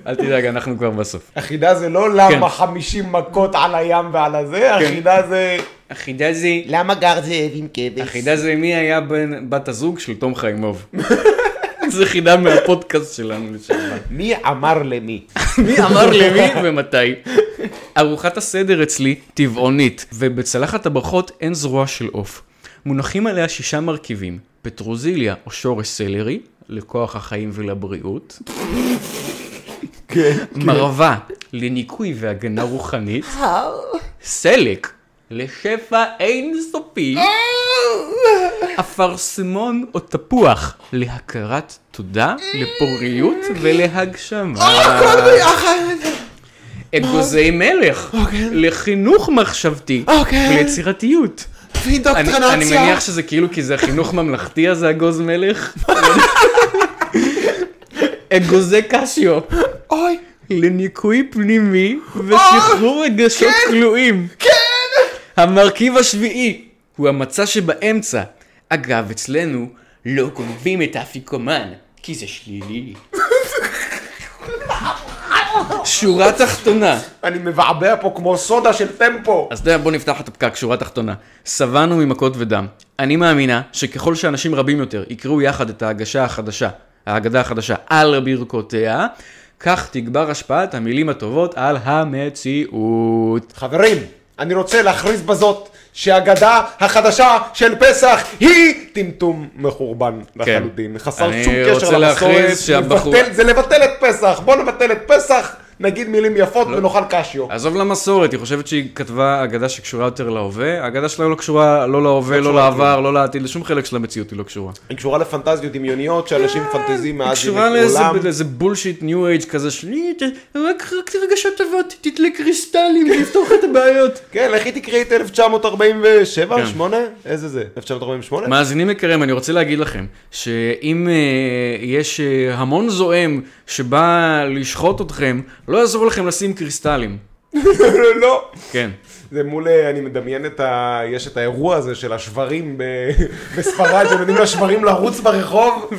אל תדאג, אנחנו כבר בסוף.
החידה זה לא
כן.
למה 50 מכות על הים ועל הזה, החידה זה...
החידה זה...
למה גר זאב עם כבש?
החידה זה מי היה בן- בת הזוג של תום חיימוב. [laughs] זו חידה מהפודקאסט שלנו לשעבר.
מי אמר למי?
[laughs] מי אמר למי ומתי. ארוחת הסדר אצלי טבעונית, ובצלחת הברכות אין זרוע של עוף. מונחים עליה שישה מרכיבים, פטרוזיליה או שורש סלרי, לכוח החיים ולבריאות, כן, מרווה, לניקוי והגנה רוחנית, סלק, לשפע אינסופי, אפרסמון או תפוח, להכרת תודה, לפוריות ולהגשמה. אגוזי מלך, לחינוך מחשבתי, ליצירתיות. אני אני מניח שזה כאילו כי זה חינוך ממלכתי אז זה אגוז [laughs] מלך. אגוזי קשיו,
אוי,
לניקוי פנימי ושחרור רגשות כלואים. כן! המרכיב השביעי הוא המצע שבאמצע. אגב, אצלנו לא גונבים את האפיקומן, כי זה [laughs] שלילי. שורה תחתונה.
אני מבעבע פה כמו סודה של טמפו.
אז אתה יודע, בוא נפתח את הפקק, שורה תחתונה. שבענו ממכות ודם. אני מאמינה שככל שאנשים רבים יותר יקראו יחד את ההגשה החדשה, ההגדה החדשה, על ברכותיה, כך תגבר השפעת המילים הטובות על המציאות.
חברים, אני רוצה להכריז בזאת שהגדה החדשה של פסח היא טמטום מחורבן לחלוטין. חסר
כן. אני
שום קשר
רוצה להכריז
למסורת,
שהבחור-
לבטל- זה לבטל את פסח, בוא נבטל את פסח, נגיד מילים יפות
לא.
ונאכל קשיו.
עזוב למסורת, היא חושבת שהיא כתבה אגדה שקשורה יותר להווה, האגדה שלה לא קשורה לא להווה, לא לעבר, לא לעתיד, לשום חלק של המציאות היא לא קשורה.
היא קשורה לפנטזיות דמיוניות שאנשים מפנטזים
אה, היא
מאז
קשורה
ימי
לאיזה-
עולם.
לאיזה בולשיט ניו אייג' כזה של "אה, ת- רק רק רגשות טובות, תתלה קריסטלים, תפתור לך את הבעיות.
כן, לכי תקראי את 1947
כן.
או 8? איזה זה? 1948?
מאזינים יקרים, אני רוצה להגיד לכם, שאם אה, יש אה, המון זועם שבא לשחוט אתכם, לא יעזור לכם לשים קריסטלים.
[laughs] לא.
כן.
זה מול, אה, אני מדמיין את ה... יש את האירוע הזה של השברים ב... [laughs] בספרד, שנותנים לשברים לרוץ ברחוב,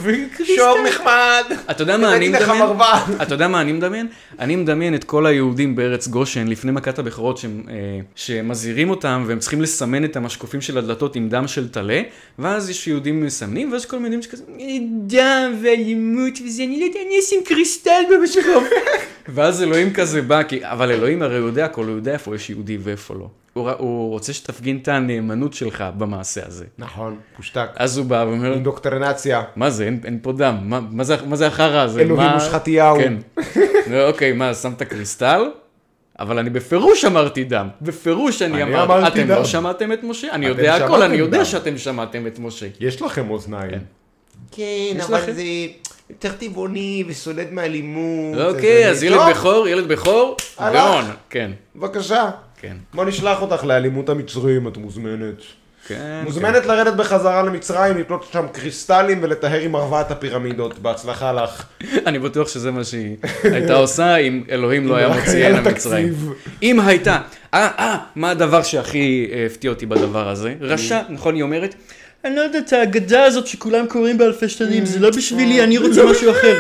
שור נחמד.
אתה יודע מה אני
הבאתי לך
מדמיין?
מרווה.
אתה יודע מה אני מדמיין? אני מדמיין את כל היהודים בארץ גושן לפני מכת הבכורות שהם, אה, שמזהירים אותם והם צריכים לסמן את המשקופים של הדלתות עם דם של טלה, ואז יש יהודים מסמנים ויש כל מיני יהודים שכזה, "אה, דם ואלימות וזה, אני לא יודע, אני אשים קריסטל במשקוף. [laughs] ואז אלוהים כזה בא, כי, אבל אלוהים הרי יודע הכל, הוא יודע איפה יש יהודי ואיפה לא. הוא, ר- הוא רוצה שתפגין את הנאמנות שלך במעשה הזה.
נכון, פושטק.
אז הוא בא ואומר,
אינדוקטרינציה.
מה זה, אין, אין פה דם, מה, מה, זה, מה זה החרא הזה?
אלוהים
מה-
מושחתיהו.
כן. לא, אוקיי, מה, שמת קריסטל? אבל אני בפירוש אמרתי דם, בפירוש
אני
אני, אמרתי,
אמרתי
אתם
דם.
לא שמעתם את משה? אני
אתם
יודע הכל,
שמעתם
אני יודע
דם.
שאתם שמעתם את משה.
יש לכם אוזניים. כן,
יש אבל לכם?
זה יותר טבעוני וסולד מאלימות.
אוקיי, אז
לא,
ילד בכור, ילד בכור,
הלך.
גאון. כן,
בבקשה.
כן.
בוא נשלח אותך לאלימות המצרים, את מוזמנת.
כן,
מוזמנת לרדת בחזרה למצרים, לקנות שם קריסטלים ולטהר עם ארבעת הפירמידות. בהצלחה לך.
כן. [laughs] אני בטוח שזה מה שהיא הייתה עושה אם אלוהים לא היה
רק
מוציא
היה לה
אל המצרים. אם הייתה, אה, אה, מה הדבר שהכי אה, הפתיע אותי בדבר הזה? רשע, נכון היא אומרת? אני לא יודעת, האגדה הזאת שכולם קוראים באלפי שנים, זה לא בשבילי, אני
נכון.
רוצה משהו אחר.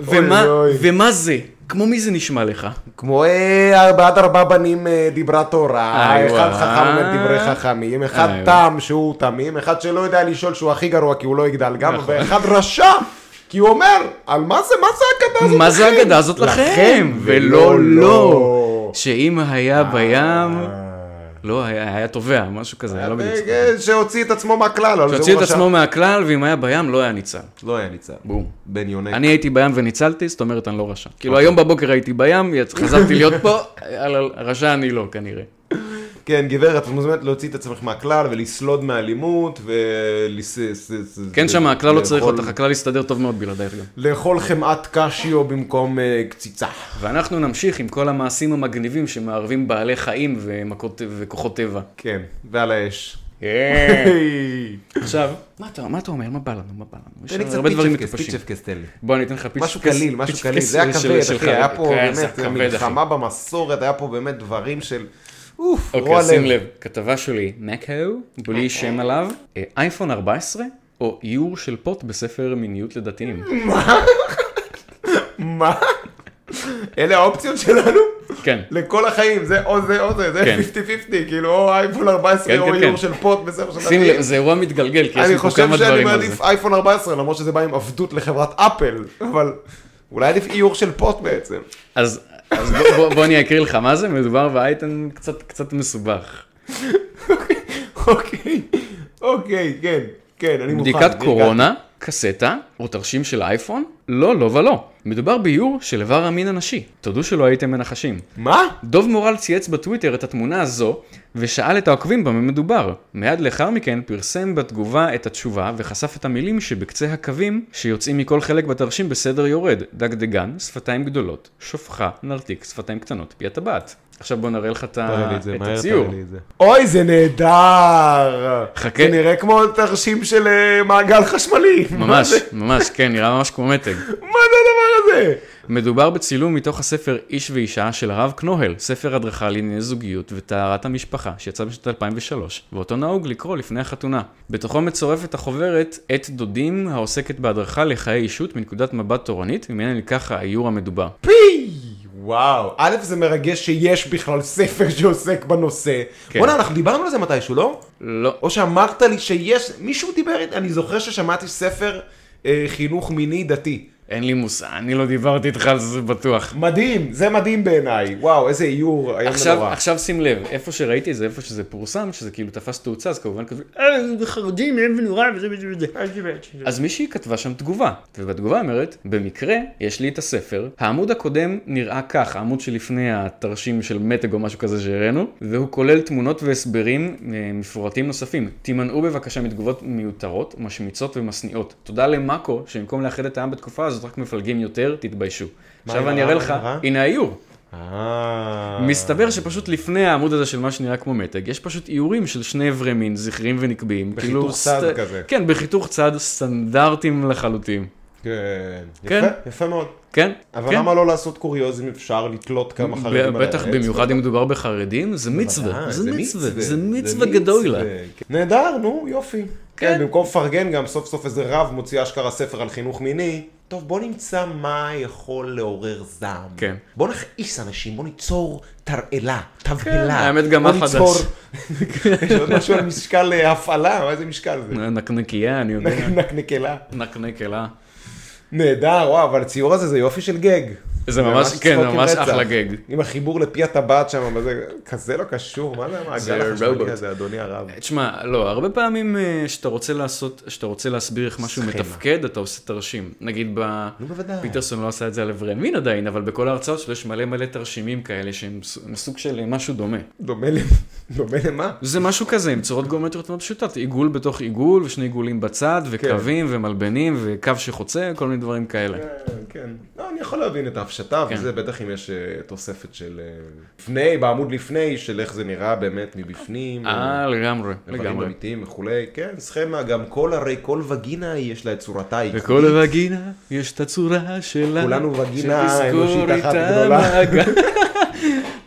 ומה,
אוי, אוי.
ומה זה? כמו מי זה נשמע לך?
כמו אה, ארבעת ארבעה בנים אה, דיברה תורה,
איי,
אחד
וואי.
חכם אומר דברי חכמים, אחד
איי,
תם שהוא תמים, אחד שלא יודע לשאול שהוא הכי גרוע כי הוא לא יגדל גם,
נכון.
ואחד רשע כי הוא אומר, על מה זה, מה זה האגדה הזאת
מה זה
לכם?" אה,
האגדה הזאת לכם? ולא לא. שאם היה בים, לא, היה היה טובע, משהו כזה,
היה
לא בדיוק.
דגל אה, שהוציא את עצמו מהכלל, אבל אה, זה
שהוציא את
הוא רשע.
עצמו מהכלל, ואם היה בים, לא היה ניצל.
לא היה ניצל,
בום.
בן יונק.
אני הייתי בים וניצלתי, זאת אומרת אני לא רשע.
אוקיי.
כאילו היום בבוקר הייתי בים, יצ- חזרתי להיות פה, יאללה, רשע אני לא כנראה.
כן, גברת, את מוזמנת להוציא את עצמך מהכלל ולסלוד מאלימות ולס...
כן שם, הכלל לא צריך
לאכול-
אותך, הכלל יסתדר טוב מאוד בלעדייך גם.
לאכול חמאת קשיו במקום אה, קציצה.
ואנחנו נמשיך עם כל המעשים המגניבים שמערבים בעלי חיים ומכות- וכוחות טבע.
כן, ועל האש.
כן.
כן. היי.
עכשיו, מה אתה מה אתה אומר? מה בא לנו? מה בא לנו? יש
תן לי קצת
הרבה דברים
פיצ'פקס,
מטופשים.
פיצ'פקס תן לי.
בוא, אני אתן לך פיצ'פקס.
משהו קליל, משהו קליל, זה היה
פיצ'פקס
כבד,
של-
אחי, היה
שלך.
פה
כן, זה
באמת
היה כבד, אחי.
מלחמה במסורת, היה פה באמת דברים של אוף,
אוקיי,
רוע
אז שים
לב.
לב, כתבה שלי, מקהו, בלי שם עליו, אה, אייפון 14, או איור של פוט בספר מיניות לדתיים.
מה? אלה האופציות שלנו?
כן.
לכל החיים, זה או זה או זה, זה
כן.
50-50, כאילו או אייפון 14
כן,
או
כן,
איור
כן.
של פוט בספר של
שים
דתיים.
לב, זה אירוע מתגלגל, כי יש
אני
לי פה
חושב
כמה
שאני
דברים על זה.
מעדיף אייפון 14, למרות שזה בא עם עבדות לחברת אפל, אבל אולי עדיף איור של פוט בעצם.
אז אז בוא- בוא- בוא אני אקריא לך מה זה, מדובר באייטם קצת- קצת מסובך.
אוקיי, אוקיי, כן, כן, אני מוכן.
בדיקת
נרגעתי.
קורונה, קסטה או תרשים של אייפון? לא, לא ולא. מדובר באיור של איבר המין הנשי. תודו שלא הייתם מנחשים.
מה?
דוב מורל צייץ בטוויטר את התמונה הזו ושאל את העוקבים במה מדובר. מיד לאחר מכן פרסם בתגובה את התשובה וחשף את המילים שבקצה הקווים שיוצאים מכל חלק בתרשים בסדר יורד. דגדגן, שפתיים גדולות, שופחה, נרתיק, שפתיים קטנות, פי הטבעת. עכשיו בוא נראה לך את,
תראה
ה...
לי את זה,
את
מהר
הציור.
תראה לי את זה. אוי, זה נהדר!
לא. חכה.
זה נראה כמו תרשים של אה, מעגל חשמלי. מה
ממש,
זה?
ממש, כן, נראה ממש כמו מתג.
מה זה הדבר הזה?
מדובר בצילום מתוך הספר איש ואישה של הרב קנוהל, ספר הדרכה לענייני זוגיות וטהרת המשפחה, שיצא בשנת 2003, ואותו נהוג לקרוא לפני החתונה. בתוכו מצורפת החוברת "עת דודים" העוסקת בהדרכה לחיי אישות מנקודת מבט תורנית, ממנה נלקח האיור המדובר.
פי! וואו. א', זה מרגש שיש בכלל ספר שעוסק בנושא.
כן.
בוא'נה, אנחנו דיברנו על זה מתישהו, לא?
לא.
או שאמרת לי שיש, מישהו דיבר איתי, אני זוכר ששמעתי ספר אה, חינוך מיני דתי.
אין לי מושג, אני לא דיברתי איתך על זה בטוח.
מדהים, זה מדהים בעיניי. וואו, איזה איור, איום
עכשיו,
ונורא.
עכשיו שים לב, איפה שראיתי את זה, איפה שזה פורסם, שזה כאילו תפס תאוצה, אז כמובן כתוב, אה, זה חרדים, איום ונורא, וזה וזה וזה. אז מישהי כתבה שם תגובה, ובתגובה אומרת, במקרה, יש לי את הספר, העמוד הקודם נראה כך, העמוד שלפני התרשים של מתג או משהו כזה שהראינו, והוא כולל תמונות והסברים אה, מפורטים נוספים. תימנעו בבקשה מתגובות מיותרות, משמיצות ומשניאות. תודה למאקו, שבמקום לאחד את העם בתקופה הזאת, רק מפלגים יותר, תתביישו. עכשיו
עם
אני אראה
העם?
לך,
אה?
הנה האיור.
אה...
מסתבר שפשוט לפני העמוד הזה של מה שנראה כמו מתג, יש פשוט איורים של שני אברי מין, זכריים ונקביים.
בחיתוך צד כזה.
כן, בחיתוך צד סטנדרטים לחלוטים.
כן.
כן.
יפה, יפה מאוד.
כן?
אבל
כן.
למה לא לעשות קוריוז אם אפשר לתלות כמה חרדים על הארץ?
בטח במיוחד אם מדובר בחרדים, זה מצווה,
אה,
זה מצווה, זה מצווה
מצווה,
גדולה.
כן. נהדר, נו, יופי.
כן.
כן, במקום לפרגן גם סוף סוף איזה רב מוציא אשכרה ספר על חינוך מיני. טוב, בוא נמצא מה יכול לעורר זעם.
כן.
בוא נכעיס אנשים, בוא ניצור תרעלה, תבהלה.
כן, האמת גם
בוא
מה חדש.
ניצור- [laughs] יש עוד משהו על משקל אה, הפעלה, מה איזה משקל זה?
נקנקייה, אני יודע.
נקנקלה.
נקנקלה.
נהדר, וואו, אבל הציור הזה זה יופי של גג.
זה ממש, כן,
צחוק עם
ממש
רצח.
אחלה גג.
עם החיבור לפי הטבעת שם, אבל זה כזה לא קשור, מה זה המעגל
זה רובוט.
החשמלי הזה, אדוני הרב?
תשמע, לא, הרבה פעמים אה, שאתה רוצה לעשות, שאתה רוצה להסביר איך משהו
סכמה.
מתפקד, אתה עושה תרשים. נגיד ב...
נו, בוודאי.
פיטרסון לא עשה את זה על אברי מין עדיין, אבל בכל ההרצאות שלו יש מלא מלא תרשימים כאלה שהם ס- הם סוג של אה, משהו דומה.
דומה ל- [laughs] דומה למה?
זה משהו כזה עם צורות גיאומטריות מאוד פשוטות, עיגול בתוך עיגול ושני עיגולים בצד
כן.
וקווים ומלבנים וקו שחוצה, כל מיני דברים כאלה.
כן, כן. לא, אני יכול להבין את ההפשטה,
כן.
וזה בטח אם יש אה, תוספת של... אה, לפני, בעמוד לפני, של איך זה נראה באמת מבפנים.
אה, לגמרי,
לגמרי.
לגמרי.
אמיתיים וכולי. כן, סכמה, גם כל, הרי כל וגינה יש לה את צורתה העיקרית.
לכל וגינה יש את הצורה שלה.
כולנו וגינה
שתזכור
אנושית אחת
איתה
גדולה.
מעגל. [laughs]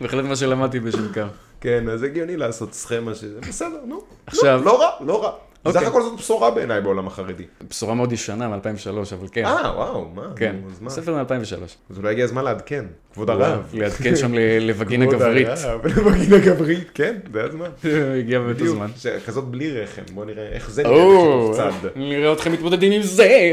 בהחלט מה שלמדתי בשנקר.
כן, אז הגיוני לעשות סכמה שזה בסדר, נו.
עכשיו-
נו, לא רע, לא רע.
אוקיי.
סך הכל זאת בשורה בעיניי בעולם החרדי.
בשורה מאוד ישנה מ-2003, אבל כן.
אה, וואו, מה?
כן,
נו, אז מה?
ספר מ-2003.
אז אולי הגיע הזמן לעדכן. כבוד הרב.
לעדכן שם ל- לווגינה
כבוד
גברית.
הרב, [laughs] לווגינה גברית, כן, זה הזמן.
[laughs] הגיע באמת
בדיוק, אה,
הזמן.
ש- כזאת בלי רחם, בוא נראה איך זה
או,
נראה בצד.
נראה אתכם מתמודדים עם זה.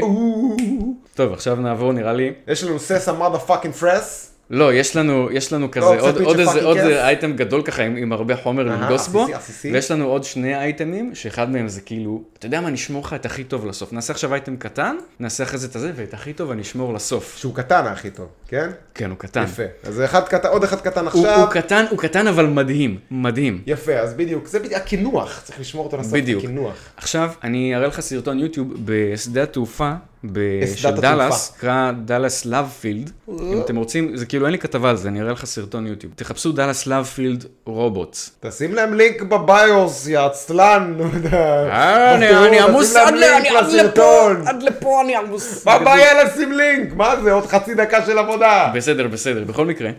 טוב, עכשיו נעבור נראה לי.
יש לנו ססה מודה פאקינג פרס.
לא, יש לנו, יש לנו כזה
קצת
עוד,
פיצ'ר
עוד איזה
פאקינג
עוד
כיף.
איזה אייטם גדול ככה עם, עם הרבה חומר
אהה,
לנגוס בו,
עסיסי, עסיסי.
ויש לנו עוד שני אייטמים, שאחד מהם זה כאילו, אתה יודע מה, נשמור לך את הכי טוב לסוף. נעשה עכשיו אייטם קטן, נעשה אחרי זה את הזה, ואת הכי טוב אני אשמור לסוף.
שהוא קטן הכי טוב, כן?
כן, הוא קטן.
יפה. אז זה אחד קטן, עוד אחד קטן
הוא,
עכשיו.
הוא קטן, הוא קטן אבל מדהים, מדהים.
יפה, אז בדיוק, זה בדיוק, הקינוח, צריך לשמור אותו לסוף,
בדיוק.
הקינוח.
עכשיו, אני אראה לך סרטון יוטיוב בשדה התעופה ב-
בשדת
של
התעופה.
דאלאס, נקרא דאלאס לאבפילד. אם אתם רוצים, זה כאילו אין לי כתבה על זה, אני אראה לך סרטון יוטיוב. תחפשו דאלאס לאבפילד רובוטס.
תשים להם לינק בביוס, יא עצלן, [laughs] לא יודע.
אה, אני-
בתיאור,
אני
תשים
עמוס
להם
עד ל-
לינק
אני- עד
לסרטון.
לפה, עד לפה אני עמוס.
מה הבעיה לשים לינק? מה זה, עוד חצי דקה של עבודה?
בסדר, בסדר. בכל מקרה,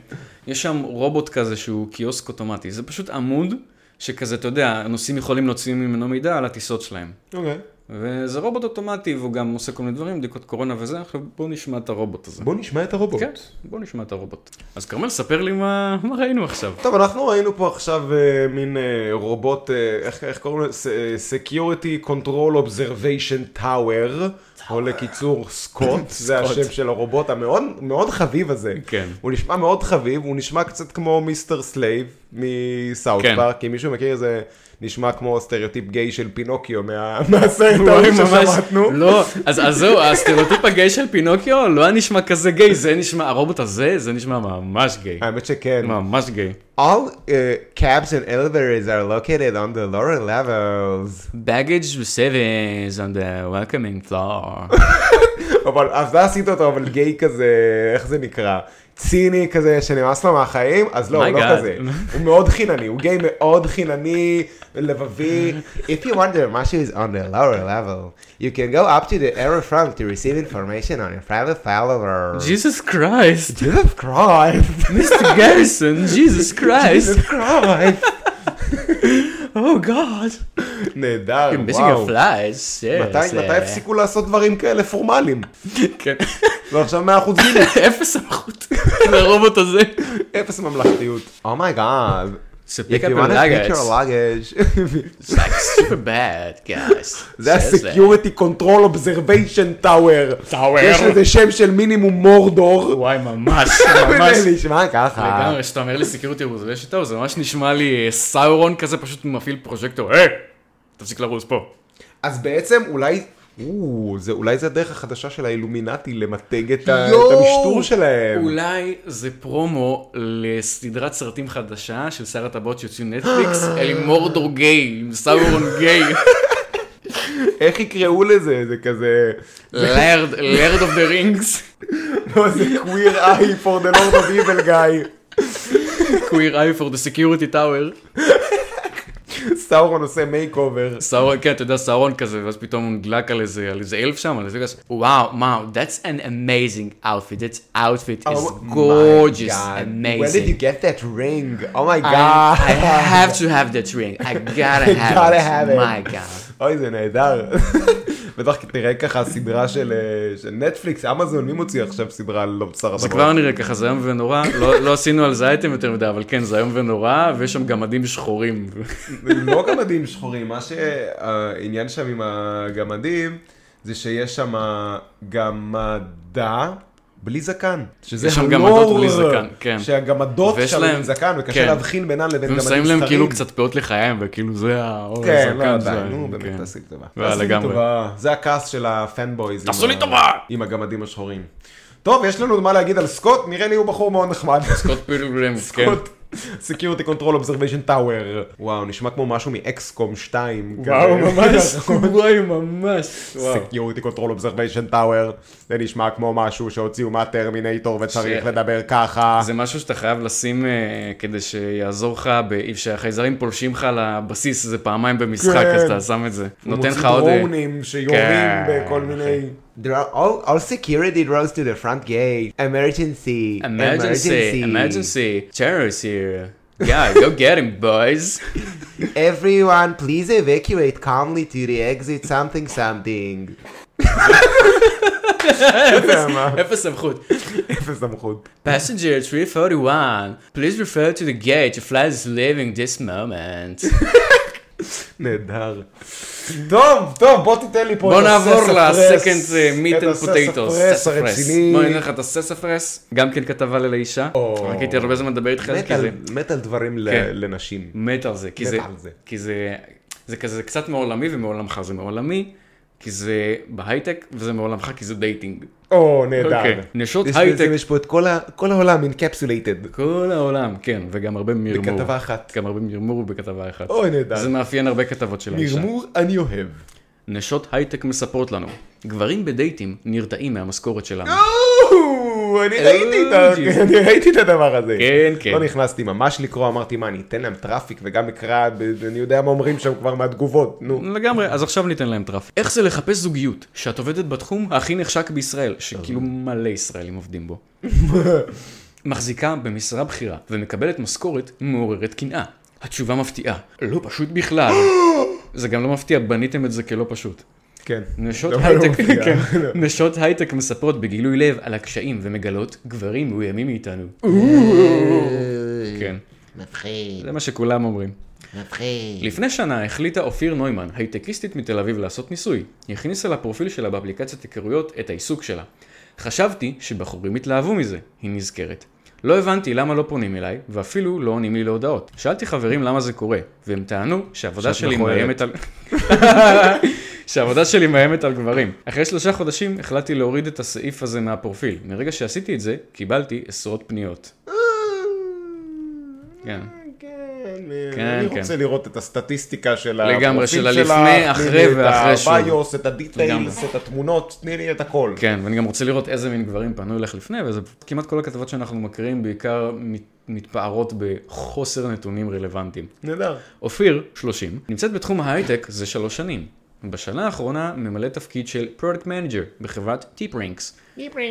יש שם רובוט כזה שהוא קיוסק אוטומטי. זה פשוט עמוד שכזה, אתה יודע, הנוסעים יכולים להוציא ממנו מידע על הטיסות שלהם.
אוקיי.
וזה רובוט אוטומטי, והוא גם עושה כל מיני דברים, בדיקות קורונה וזה. עכשיו בואו נשמע את הרובוט הזה.
בוא נשמע את הרובוט.
כן, בוא נשמע את הרובוט. אז כרמל, ספר לי מה מה ראינו עכשיו.
טוב, אנחנו ראינו פה עכשיו אה, מין אה, רובוט, אה, איך, איך קוראים לזה? Security Control Observation Tower, או לקיצור [laughs] סקוט, זה
סקוט.
השם של הרובוט המאוד מאוד חביב הזה.
כן.
הוא נשמע מאוד חביב, הוא נשמע קצת כמו מיסטר סלייב מסאוט
כן.
פארק, אם מישהו מכיר זה נשמע כמו סטריאוטיפ גיי של פינוקיו מה- [laughs] מהסרט
וואי,
ההוא
ממש-
ששמענו.
לא, אז אז זהו, הסטריאוטיפ הגיי של פינוקיו לא היה נשמע כזה גיי, זה נשמע, הרובוט הזה, זה נשמע ממש גיי.
האמת שכן.
ממש גיי.
All uh, cabs and elevators are located on the lower levels.
Baggage receivers on the welcoming floor.
אבל אז לא עשית אותו, אבל גיי כזה, איך זה נקרא? ציני כזה שנמאס לו מהחיים, אז לא,
My
הוא לא
God.
כזה. הוא מאוד חינני, הוא גיי מאוד חינני, לבבי. If you wonder מה is on the lower level, you can go up to the error front to receive information on your private follower.
Jesus Christ,
Jesus
[laughs]
Christ.
Mr. Garrison, Jesus
[laughs]
Christ,
Jesus Christ.
Oh God,
נהדר,
you're missing
וואו.
your flies, yes.
מתי מתי
אה.
הפסיקו לעשות דברים כאלה פורמליים? לא,
כן, [laughs]
ועכשיו 100% גילי,
אפס סמכות לרובוט הזה.
Oh אפס ממלכתיות. אומייגאד.
So
If
pick up
you
your
want to pick
luggage.
your luggage,
It's like super bad,
[laughs]
guys.
זה ה-Security Control Observation Tower.
Tower.
יש לזה שם של מינימום מורדור.
וואי, ממש,
[laughs]
ממש.
זה נשמע ככה.
לגמרי, כשאתה אומר לי סקיוריטי רוזלש איתו, זה ממש נשמע לי אה, סאורון כזה פשוט מפעיל פרוז'קטור, היי, תפסיק לרוץ פה.
אז בעצם אולי, או, זה, אולי זה הדרך החדשה של האילומינטי למתג את, ה,
יואו!
את המשטור שלהם.
אולי זה פרומו לסדרת סרטים חדשה של שר הטבעות שיוצאים נטפליקס,
[gasps]
אלי מורדור גיי, עם סאורון
[laughs]
גיי,
איך יקראו לזה? זה כזה...
לרד, לרד אוף דה
[laughs]
רינגס,
לא, זה קוויר איי פור דה לורד אוף איבל גיא.
קוויר איי פור דה סקיוריטי טאוור.
סאורון עושה מייק אובר.
סאורון, כן, אתה יודע, סאורון כזה, ואז פתאום הוא נדלק על איזה, על איזה אלף שם, על איזה כזה, וואו, וואו, that's an amazing outfit, that outfit is gorgeous,
Oh Where did you
amazing.
get that ring? Oh my
I, I
god.
have to have that ring, I gotta
I
have
gotta
it,
have it.
my god.
אוי, זה
[laughs]
נהדר. בטח תראה ככה סדרה של אה, של נטפליקס, אמזון, מי מוציא עכשיו סדרה על לא בשר
זה
הטבעות? [laughs]
כבר נראה ככה, זה איום ונורא, לא לא עשינו על זה אייטם יותר מדי, אבל כן, זה איום ונורא, ויש שם גמדים
[laughs]
שחורים.
לא גמדים שחורים, מה שהעניין שם עם הגמדים, זה שיש שם גמדה בלי זקן. שזה
יש שם
הלור,
גמדות בלי זקן, כן.
שהגמדות
ויש
שם
להם-
עם זקן, וקשה
כן.
להבחין בינן לבין גמדים
ושמים
זכרים.
להם כאילו קצת פאות לחיים, וכאילו זה האור
כן, לא,
הזקן,
די,
זה-
נו,
כן.
באמת, תעשי לי טובה.
וואלה,
תעשי לי
לגמרי.
טובה. זה הכעס של הפנבויז. עם
תעשו לי
ה-
טובה!
עם הגמדים השחורים. טוב, יש לנו מה להגיד על סקוט, נראה לי הוא בחור מאוד [laughs] נחמד.
סקוט פילגרימס, כן.
סקוט. Security Control Observation Tower. וואו, נשמע כמו משהו מאקסקום 2. כזה.
[laughs] וואי, ממש.
[laughs] Security Control Observation Tower. זה נשמע כמו משהו שהוציאו מהטרמינטור וצריך
ש-
לדבר ככה.
זה משהו שאתה חייב לשים אה, כדי שיעזור לך, ב- כשהחייזרים פולשים לך לבסיס, זה פעמיים במשחק,
כן.
אז אתה שם את זה. נותן לך עוד...
הוא
אה,
מוציא דרונים שיורים
כן,
בכל
אחי.
מיני... There are all, all security drones to the front gate. Emergency.
emergency, emergency, terrorist here. Yeah, go get him, boys.
Everyone, please evacuate calmly to the exit something something. [laughs]
אפס סמכות.
אפס סמכות.
Passenger 341, please refer to the gate, your flight is leaving this moment.
[laughs] נהדר. טוב, טוב, בוא תיתן לי פה
בוא
את
נעבור אה,
הסס הפרס,
לסקנד מיט
את
אנד
הסס
פוטטוס.
הפרס הרציני.
בוא נלך לך את הסס הפרס, גם כן כתבה ללאישה.
או.
רק הייתי הרבה זמן לדבר איתך על זה,
מת
כי
על-
זה
מת על דברים ל-
כן.
לנשים.
מת על זה, כי
מת
זה,
על זה.
כי זה, זה כזה קצת מעולמי ומעולמך זה מעולמי, כי זה בהייטק וזה מעולמך כי זה דייטינג.
או, נהדר.
אוקיי. נשות
יש-
הייטק.
יש פה את כל ה- כל העולם אינקפסולייטד.
כל העולם, כן, וגם הרבה מרמור.
בכתבה אחת.
גם הרבה מרמור בכתבה אחת.
אוי, נהדר.
זה מאפיין הרבה כתבות של האישה.
מרמור אני אוהב.
נשות הייטק מספרות לנו, גברים בדייטים נרתעים מהמשכורת שלנו.
או, אני ראיתי את ה-
ג'יזוס.
[laughs] אני ראיתי את הדבר הזה.
כן, כן.
לא נכנסתי ממש לקרוא, אמרתי מה, אני אתן להם טראפיק וגם אקרא, ב- אני יודע מה אומרים שם כבר מהתגובות, נו.
לגמרי, אז עכשיו ניתן להם טראפ. איך זה לחפש זוגיות שאת עובדת בתחום הכי נחשק בישראל, שכאילו מלא ישראלים עובדים בו? מחזיקה במשרה בכירה ומקבלת משכורת מעוררת קנאה. התשובה מפתיעה, לא פשוט
[gasps]
בכלל. זה גם לא מפתיע, בניתם את זה כלא פשוט.
כן.
נשות
[laughs] לא
הייטק,
מפתיע.
[laughs] כן. נשות הייטק מספרות בגילוי לב על הקשיים ומגלות גברים מאוימים מאיתנו.
אוקיי.
כן,
מפחיד,
זה מה שכולם אומרים.
מפחיד.
לפני שנה החליטה אופיר נוימן, הייטקיסטית מתל אביב, לעשות ניסוי. היא הכניסה לפרופיל שלה באפליקציית היכרויות את העיסוק שלה. חשבתי שבחורים התלהבו מזה, היא נזכרת. לא הבנתי למה לא פונים אליי, ואפילו לא עונים לי להודעות. שאלתי חברים למה זה קורה, והם טענו שהעבודה
שאת
שלי
מכוערת.
מאיימת על... [laughs] שהעבודה שלי מאיימת על גברים. אחרי שלושה חודשים החלטתי להוריד את הסעיף הזה מהפרופיל. מרגע שעשיתי את זה, קיבלתי עשרות פניות. כן.
כן,
כן,
אני
כן.
רוצה לראות את הסטטיסטיקה של
לגמרי,
הפרופיל
של
שלך,
הלפני,
תני
אחרי
לי
ואחרי שוב.
את הביוס, את הדיטיילס,
לגמרי.
את התמונות, תני לי את הכל.
כן, ואני גם רוצה לראות איזה מין גברים פנו אליך לפני, וזה כמעט כל הכתבות שאנחנו מכירים בעיקר מת- מתפארות בחוסר נתונים רלוונטיים.
נהדר.
אופיר, 30, נמצאת בתחום ההייטק זה שלוש שנים. בשנה האחרונה ממלא תפקיד של פרודקט מנג'ר בחברת טיפרינקס.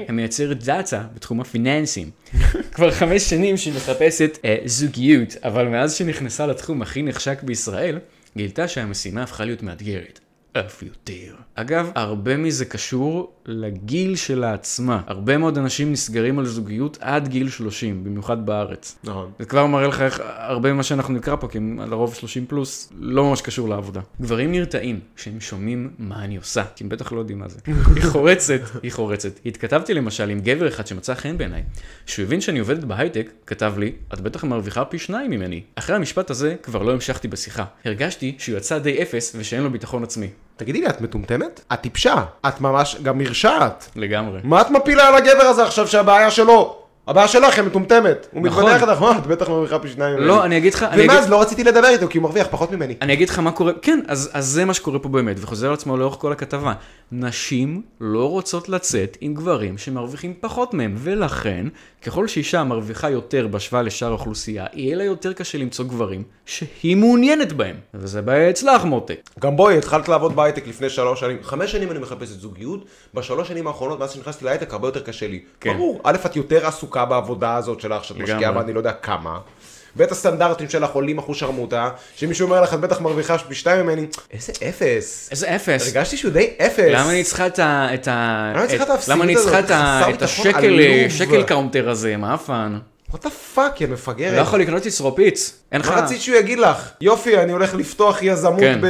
המייצרת דאטה בתחום הפיננסים. [laughs] כבר חמש שנים שהיא מחפשת אה, זוגיות, אבל מאז שנכנסה לתחום הכי נחשק בישראל, גילתה שהמשימה הפכה להיות מאתגרת. אף יותר. אגב, הרבה מזה קשור לגיל שלה עצמה. הרבה מאוד אנשים נסגרים על זוגיות עד גיל 30, במיוחד בארץ.
נכון.
זה כבר מראה לך איך הרבה ממה שאנחנו נקרא פה, כי הם לרוב 30 פלוס, לא ממש קשור לעבודה. גברים נרתעים כשהם שומעים מה אני עושה, כי הם בטח לא יודעים מה זה. היא חורצת, היא חורצת. התכתבתי למשל עם גבר אחד שמצא חן בעיניי, שהוא הבין שאני עובדת בהייטק, כתב לי, את בטח מרוויחה פי שניים ממני. אחרי המשפט הזה כבר לא המשכתי בשיחה. הרגשתי שהוא יצא די אפס ושאין לו ביטחון עצמי.
תגידי לי, את מטומטמת? את טיפשה. את ממש גם מרשעת.
לגמרי.
מה את מפילה על הגבר הזה עכשיו שהבעיה שלו? הבעיה שלך היא מטומטמת. הוא
נכון.
מתבדח לך, "מה, את בטח מרוויחה פי שניים. ממני."
לא, אני אגיד לך, אני אגיד
ומאז לא רציתי לדבר איתו, כי הוא מרוויח פחות ממני.
אני אגיד לך מה קורה, כן, אז, אז זה מה שקורה פה באמת, וחוזר על עצמו לאורך כל הכתבה. נשים לא רוצות לצאת עם גברים שמרוויחים פחות מהם, ולכן, ככל שאישה מרוויחה יותר בהשוואה לשאר האוכלוסייה, יהיה לה יותר קשה למצוא גברים שהיא מעוניינת בהם. וזה בעיה אצלך, מותק.
גם בואי, התחלת לעבוד בהייטק לפני שלוש שנים. חמש שנים אני מחפש את זוגיות, בשלוש שנים האחרונות, מאז שנכנסתי להייטק, הרבה יותר קשה לי.
כן.
ברור, א', את יותר עסוקה בעבודה הזאת שלך, שאת משקיעה בה, אני לא יודע כמה. ואת הסטנדרטים שלך עולים אחוז שרמוטה, שמישהו אומר לך, את בטח מרוויחה פי שתיים ממני, איזה אפס.
איזה אפס.
הרגשתי שהוא די אפס.
אה, למה אני צריכה את ה... את ה...
למה אני צריכה את האפסיות
למה אני צריכה
הזאת?
את ה-
חסר
את
ביטחון
השקל
עלוב.
שקל קאונטר הזה, מה הפאן?
What the fuck, יא מפגרת.
לא יכול לקנות ישרופיץ. אין לך...
כן. מה רצית שהוא יגיד לך? יופי, אני הולך לפתוח יזמות
אה. כן.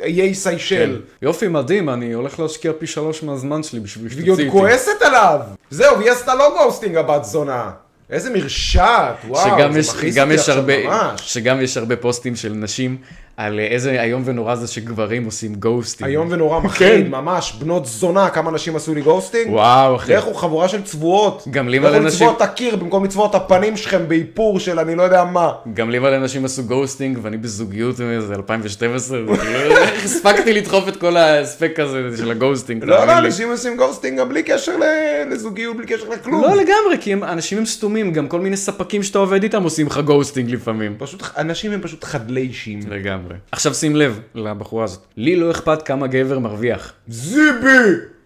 באיי סיישל.
יופי, מדהים, אני הולך להשקיע פי שלוש מהזמן שלי בשביל
והיא עוד
שתוציא איתי.
כועסת עליו! זהו, והיא עשתה לו גוסטינג הבת זונה! איזה מרשעת, וואו,
שגם
זה
יש,
מכעיס
גם
אותי
יש
עכשיו
הרבה,
ממש.
שגם יש הרבה פוסטים של נשים על אה, איזה איום ונורא זה שגברים עושים גוסטים.
איום ונורא
כן.
מחריד, ממש, בנות זונה, כמה נשים עשו לי גוסטינג?
וואו, אחי.
לכו חבורה של צבועות.
גם לי מלא
לכו
נשים-
לצבוע את הקיר במקום לצבוע את הפנים שלכם באיפור של אני לא יודע מה.
גם לי מלא אנשים עשו גוסטינג ואני בזוגיות אה, מאיזה 2012, וכאילו, איך כאילו- [laughs] הספקתי לדחוף את כל האספק הזה של הגוסטינג.
לא,
תאמין
לא,
לי.
אנשים עושים גוסטינג גם בלי קשר ל- לזוגיות, בלי קשר לכלום.
לא לגמרי, כי הם- אנשים הם סתומים, גם כל מיני ספקים שאתה עובד איתם עושים לך גוסטינג לפעמים.
פשוט, אנשים הם פשוט חדלי אישים.
נכון. לגמרי. עכשיו שים לב לבחורה הזאת, לי לא אכפת כמה גבר מרוויח.
זיבי!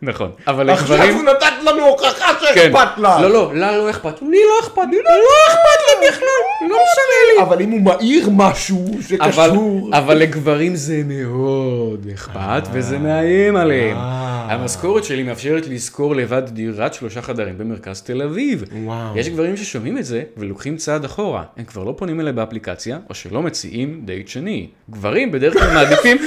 נכון. אבל
עכשיו
לגברים...
נתת לנו הוכחה שאכפת לה.
לא, לא, לה לא אכפת. לי לא אכפת, לי לא לא אכפת לי בכלל, לא משנה לי.
אבל אם הוא מעיר משהו
אבל,
שקשור...
אבל לגברים זה מאוד אכפת, וזה מאיים עליהם. המשכורת שלי מאפשרת לשכור לבד דירת שלושה חדרים במרכז תל אביב.
וואו.
יש גברים ששומעים את זה ולוקחים צעד אחורה. הם כבר לא פונים אליי באפליקציה, או שלא מציעים דייט שני. גברים בדרך כלל מעדיפים... [laughs]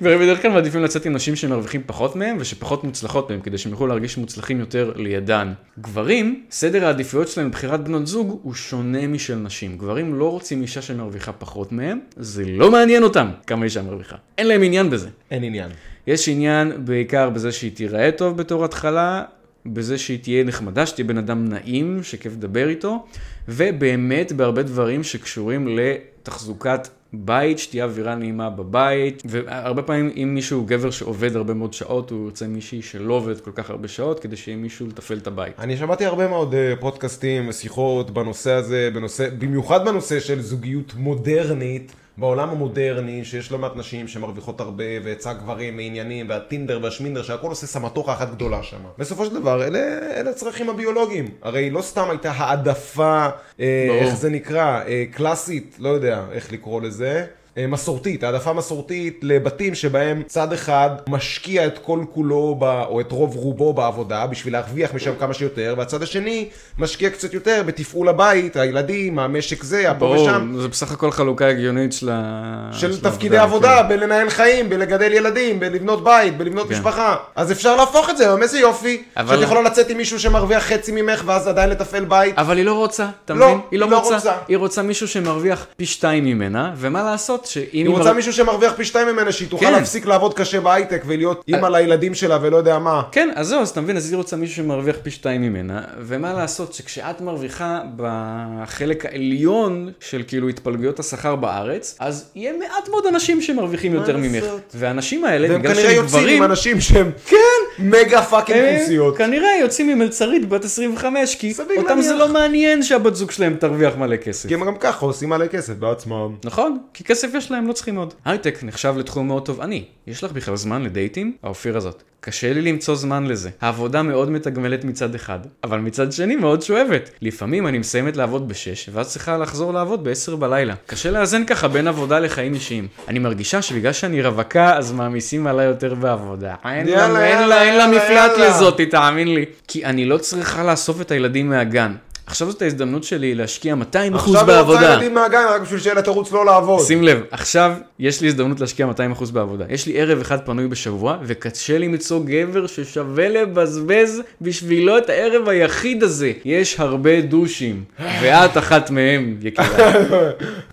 גברים בדרך כלל מעדיפים לצאת עם נשים שמרוויחים פחות מהם ושפחות מוצלחות מהם, כדי שהם יוכלו להרגיש מוצלחים יותר לידן. גברים, סדר העדיפויות שלהם בבחירת בנות זוג הוא שונה משל נשים. גברים לא רוצים אישה שמרוויחה פחות מהם, זה לא מעניין אותם כמה אישה מרוויחה. אין להם עניין בזה.
אין עניין.
יש עניין בעיקר בזה שהיא תיראה טוב בתור התחלה, בזה שהיא תהיה נחמדה, שתהיה בן אדם נעים, שכיף לדבר איתו, ובאמת בהרבה דברים שקשורים לתחזוקת בית, שתהיה אווירה נעימה בבית, והרבה פעמים אם מישהו הוא גבר שעובד הרבה מאוד שעות, הוא ירצה מישהי שלא עובד כל כך הרבה שעות, כדי שיהיה מישהו לתפעל את הבית.
אני שמעתי הרבה מאוד אה, פודקאסטים ושיחות בנושא הזה, בנושא, במיוחד בנושא של זוגיות מודרנית. בעולם המודרני, שיש לא מעט נשים שמרוויחות הרבה, והיצע גברים מעניינים, והטינדר והשמינדר, שהכל עושה סמטוחה אחת גדולה שם. בסופו של דבר, אלה, אלה הצרכים הביולוגיים. הרי לא סתם הייתה העדפה, אה,
ברור.
איך זה נקרא, אה, קלאסית, לא יודע איך לקרוא לזה. אה, מסורתית, העדפה מסורתית לבתים שבהם צד אחד משקיע את כל כולו ב, או את רוב רובו בעבודה בשביל להרוויח משם כמה שיותר, והצד השני משקיע קצת יותר בתפעול הבית, הילדים, המשק זה, הפה
ברור,
ושם,
זה בסך הכל חלוקה הגיונית של ה...
של
העבודה,
תפקידי עבודה, בלנהל חיים, בלגדל ילדים, בלבנות בית, בלבנות משפחה. אז אפשר להפוך את זה, היום איזה יופי,
כן. אבל-
שאת יכולה לצאת עם מישהו שמרוויח חצי ממך ואז עדיין לתפעל בית.
אבל היא לא רוצה, אתה
לא,
מבין? היא לא
היא לא
רוצה.
רוצה.
היא רוצה מישהו שמרוויח פי שתיים ממנה, ומה לעשות שאם
היא רוצה
מר-
מישהו שמרוויח פי שתיים ממנה, שהיא תוכל
כן. אה.
להפסיק לעבוד קשה בהייטק ולהיות אימא לילדים שלה ולא יודע מה.
כן, אז זהו, אז אתה מבין, אז היא רוצה מישהו שמרוויח פי שתיים ממנה, ומה לעשות שכשאת מרוויחה בחלק העליון של כאילו התפלגויות השכר בארץ, אז יהיה מעט מאוד אנשים שמרוויחים יותר ממך.
לעשות?
והאנשים האלה,
והם
בגלל
כנראה
שהם
יוצאים
גברים, כן. אה,
עם אנשים שהם מגה פאקינג
הם
כוסיות.
כנראה יוצאים עם מלצרית בת 25, כי
סביר
אותם זה
להניח.
לא מעניין שהבת זוג שלהם תרוויח מלא כסף.
כי הם גם ככה עושים מלא כסף בעצמם.
נכון, כי כסף יש להם, לא צריכים עוד. הייטק נחשב לתחום מאוד תובעני. יש לך בכלל זמן לדייטים? האופיר הזאת. קשה לי למצוא זמן לזה. העבודה מאוד מתגמלת מצד אחד, אבל מצד שני מאוד שואבת. לפעמים אני מסיימת לעבוד ב-6, ואז צריכה לחזור לעבוד ב-10 בלילה. קשה לאזן ככה בין עבודה לחיים אישיים. אני מרגישה שבגלל שאני רווקה, אז מעמיסים עליי יותר בעבודה. אין לה-
יאללה,
אין
יאללה,
אין לה
יאללה,
מפלט
יאללה.
לזאתי, תאמין לי. כי אני לא צריכה לאסוף את הילדים מהגן. עכשיו זאת ההזדמנות שלי להשקיע 200%
עכשיו היא רוצה
בעבודה.
ילדים מהגן רק בשביל שיהיה לה תירוץ לא לעבוד.
שים לב, עכשיו יש לי הזדמנות להשקיע 200% בעבודה. יש לי ערב אחד פנוי בשבוע, וקשה לי למצוא גבר ששווה לבזבז בשבילו את הערב היחיד הזה. יש הרבה דושים, ואת אחת מהם, יקירה.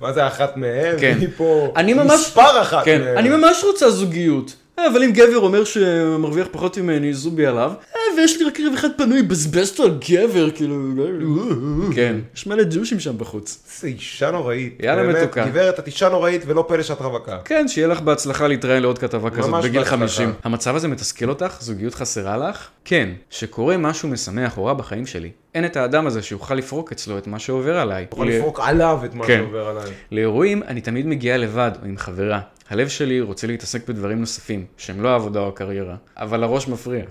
מה זה אחת מהם?
כן.
היא פה
אני ממש...
מספר אחת
כן,
מהם.
אני ממש רוצה זוגיות. אה, אבל אם גבר אומר שמרוויח פחות ממני, זובי עליו, אה, ויש לי רק ערב אחד פנוי, בזבז אותו על גבר, כאילו... כן. יש מלא דושים שם בחוץ.
איזה אישה נוראית.
יאללה,
באמת,
מתוקה.
גברת, את אישה נוראית ולא פלא שאת רווקה.
כן, שיהיה לך בהצלחה להתראיין לעוד כתבה כזאת
ממש
בגיל
בהצלחה.
50. המצב הזה מתסכל אותך? זוגיות חסרה לך? כן. שקורה משהו משמח או רע בחיים שלי. אין את האדם הזה שיוכל לפרוק אצלו את מה שעובר עליי.
יכול לפרוק עליו את מה
כן.
שעובר עליי. [laughs]
לאירועים אני תמיד מגיעה לבד או עם חברה. הלב שלי רוצה להתעסק בדברים נוספים, שהם לא העבודה או הקריירה, אבל הראש מפריע.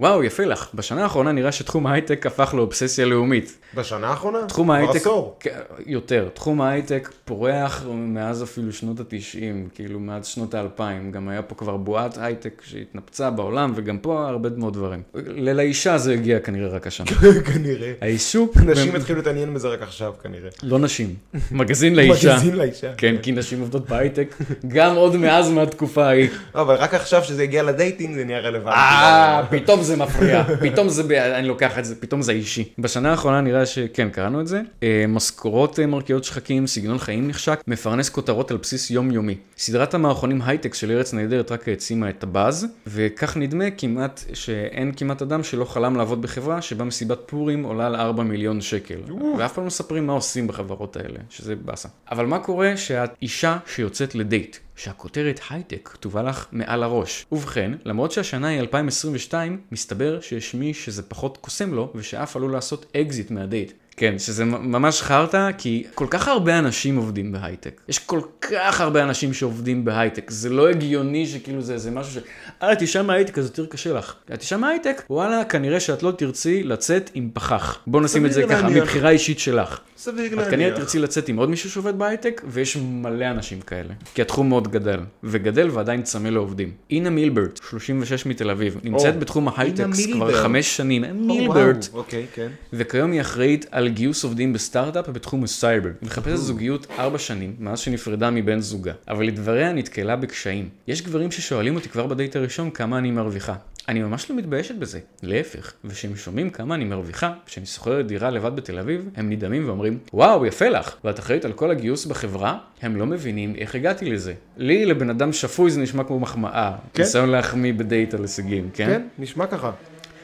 וואו, יפה לך. בשנה האחרונה נראה שתחום ההייטק הפך לאובססיה לאומית.
בשנה האחרונה?
תחום
כבר
ההייטק...
עשור. [laughs]
כן, יותר. תחום ההייטק פורח מאז אפילו שנות ה-90, כאילו מאז שנות ה-2000. גם היה פה כבר בועת הייטק שהתנפצה בעולם, וגם פה הרבה מאוד דברים. לאישה זה הגיע כנראה רק השנה.
כנראה.
העיסוק...
נשים התחילו להתעניין בזה רק עכשיו כנראה.
לא נשים. מגזין לאישה.
מגזין לאישה.
כן, כי נשים עובדות בהייטק, גם עוד מאז מהתקופה ההיא.
לא, אבל רק עכשיו שזה הגיע לדייטינג זה נהיה רלוונטי.
אה, פתאום זה מפריע, פתאום זה, ב- אני לוקח את זה, פתאום זה אישי. בשנה האחרונה נראה שכן, קראנו את זה. אה, משכורות אה, מרקיעות שחקים, סגנון חיים נחשק, מפרנס כותרות על בסיס יומיומי. סדרת המערכונים הייטק של ארץ נהדרת רק העצימה את הבאז, וכך נדמה כמעט שאין כמעט אדם שלא חלם לעבוד בחברה שבה מסיבת פורים עולה על 4 מיליון שקל. ואף פעם לא מספרים מה עושים בחברות האלה, שזה באסה. אבל מה קורה שאת אישה שיוצאת לדייט? שהכותרת הייטק כתובה לך מעל הראש. ובכן, למרות שהשנה היא 2022, מסתבר שיש מי שזה פחות קוסם לו, ושאף עלול לעשות אקזיט מהדייט. כן, שזה מ- ממש חרטא, כי כל כך הרבה אנשים עובדים בהייטק. יש כל כך הרבה אנשים שעובדים בהייטק. זה לא הגיוני שכאילו זה איזה משהו ש... אה, את אישה מההייטק, אז יותר קשה לך. את אישה מההייטק, וואלה, כנראה שאת לא תרצי לצאת עם פחח. בוא נשים את זה
סביר
ככה,
להניח.
מבחירה אישית שלך.
סביר
את כנראה
להניח.
תרצי לצאת עם עוד מישהו שעובד בהייטק, ויש מלא אנשים כאלה. כי התחום מאוד גדל, וגדל ועדיין צמא לעובדים. אינה מילברט, 36 מתל אביב, נמצאת בתחום ההייטקס כבר
מילברט.
חמש שנים.
או,
מילברט.
וואו, אוקיי, כן.
וכיום היא אחראית על גיוס עובדים בסטארט-אפ בתחום הסייבר. היא מחפשת זוגיות ארבע שנים מאז שנפרדה מבן זוגה, אבל לדבריה נתקלה בקשיים. יש גברים ששואלים אותי כבר בדייט הראשון כמה אני מרוויחה. אני ממש לא מתביישת בזה, להפך. וכשהם שומעים כמה אני מרוויחה, כשאני שוכרת דירה לבד בתל אביב, הם נדהמים ואומרים, וואו, יפה לך, ואת אחראית על כל הגיוס בחברה? הם לא מבינים איך הגעתי לזה. לי, לבן אדם שפוי, זה נשמע כמו מחמאה.
כן.
ניסיון להחמיא בדייט על הישגים, כן?
כן, נשמע ככה.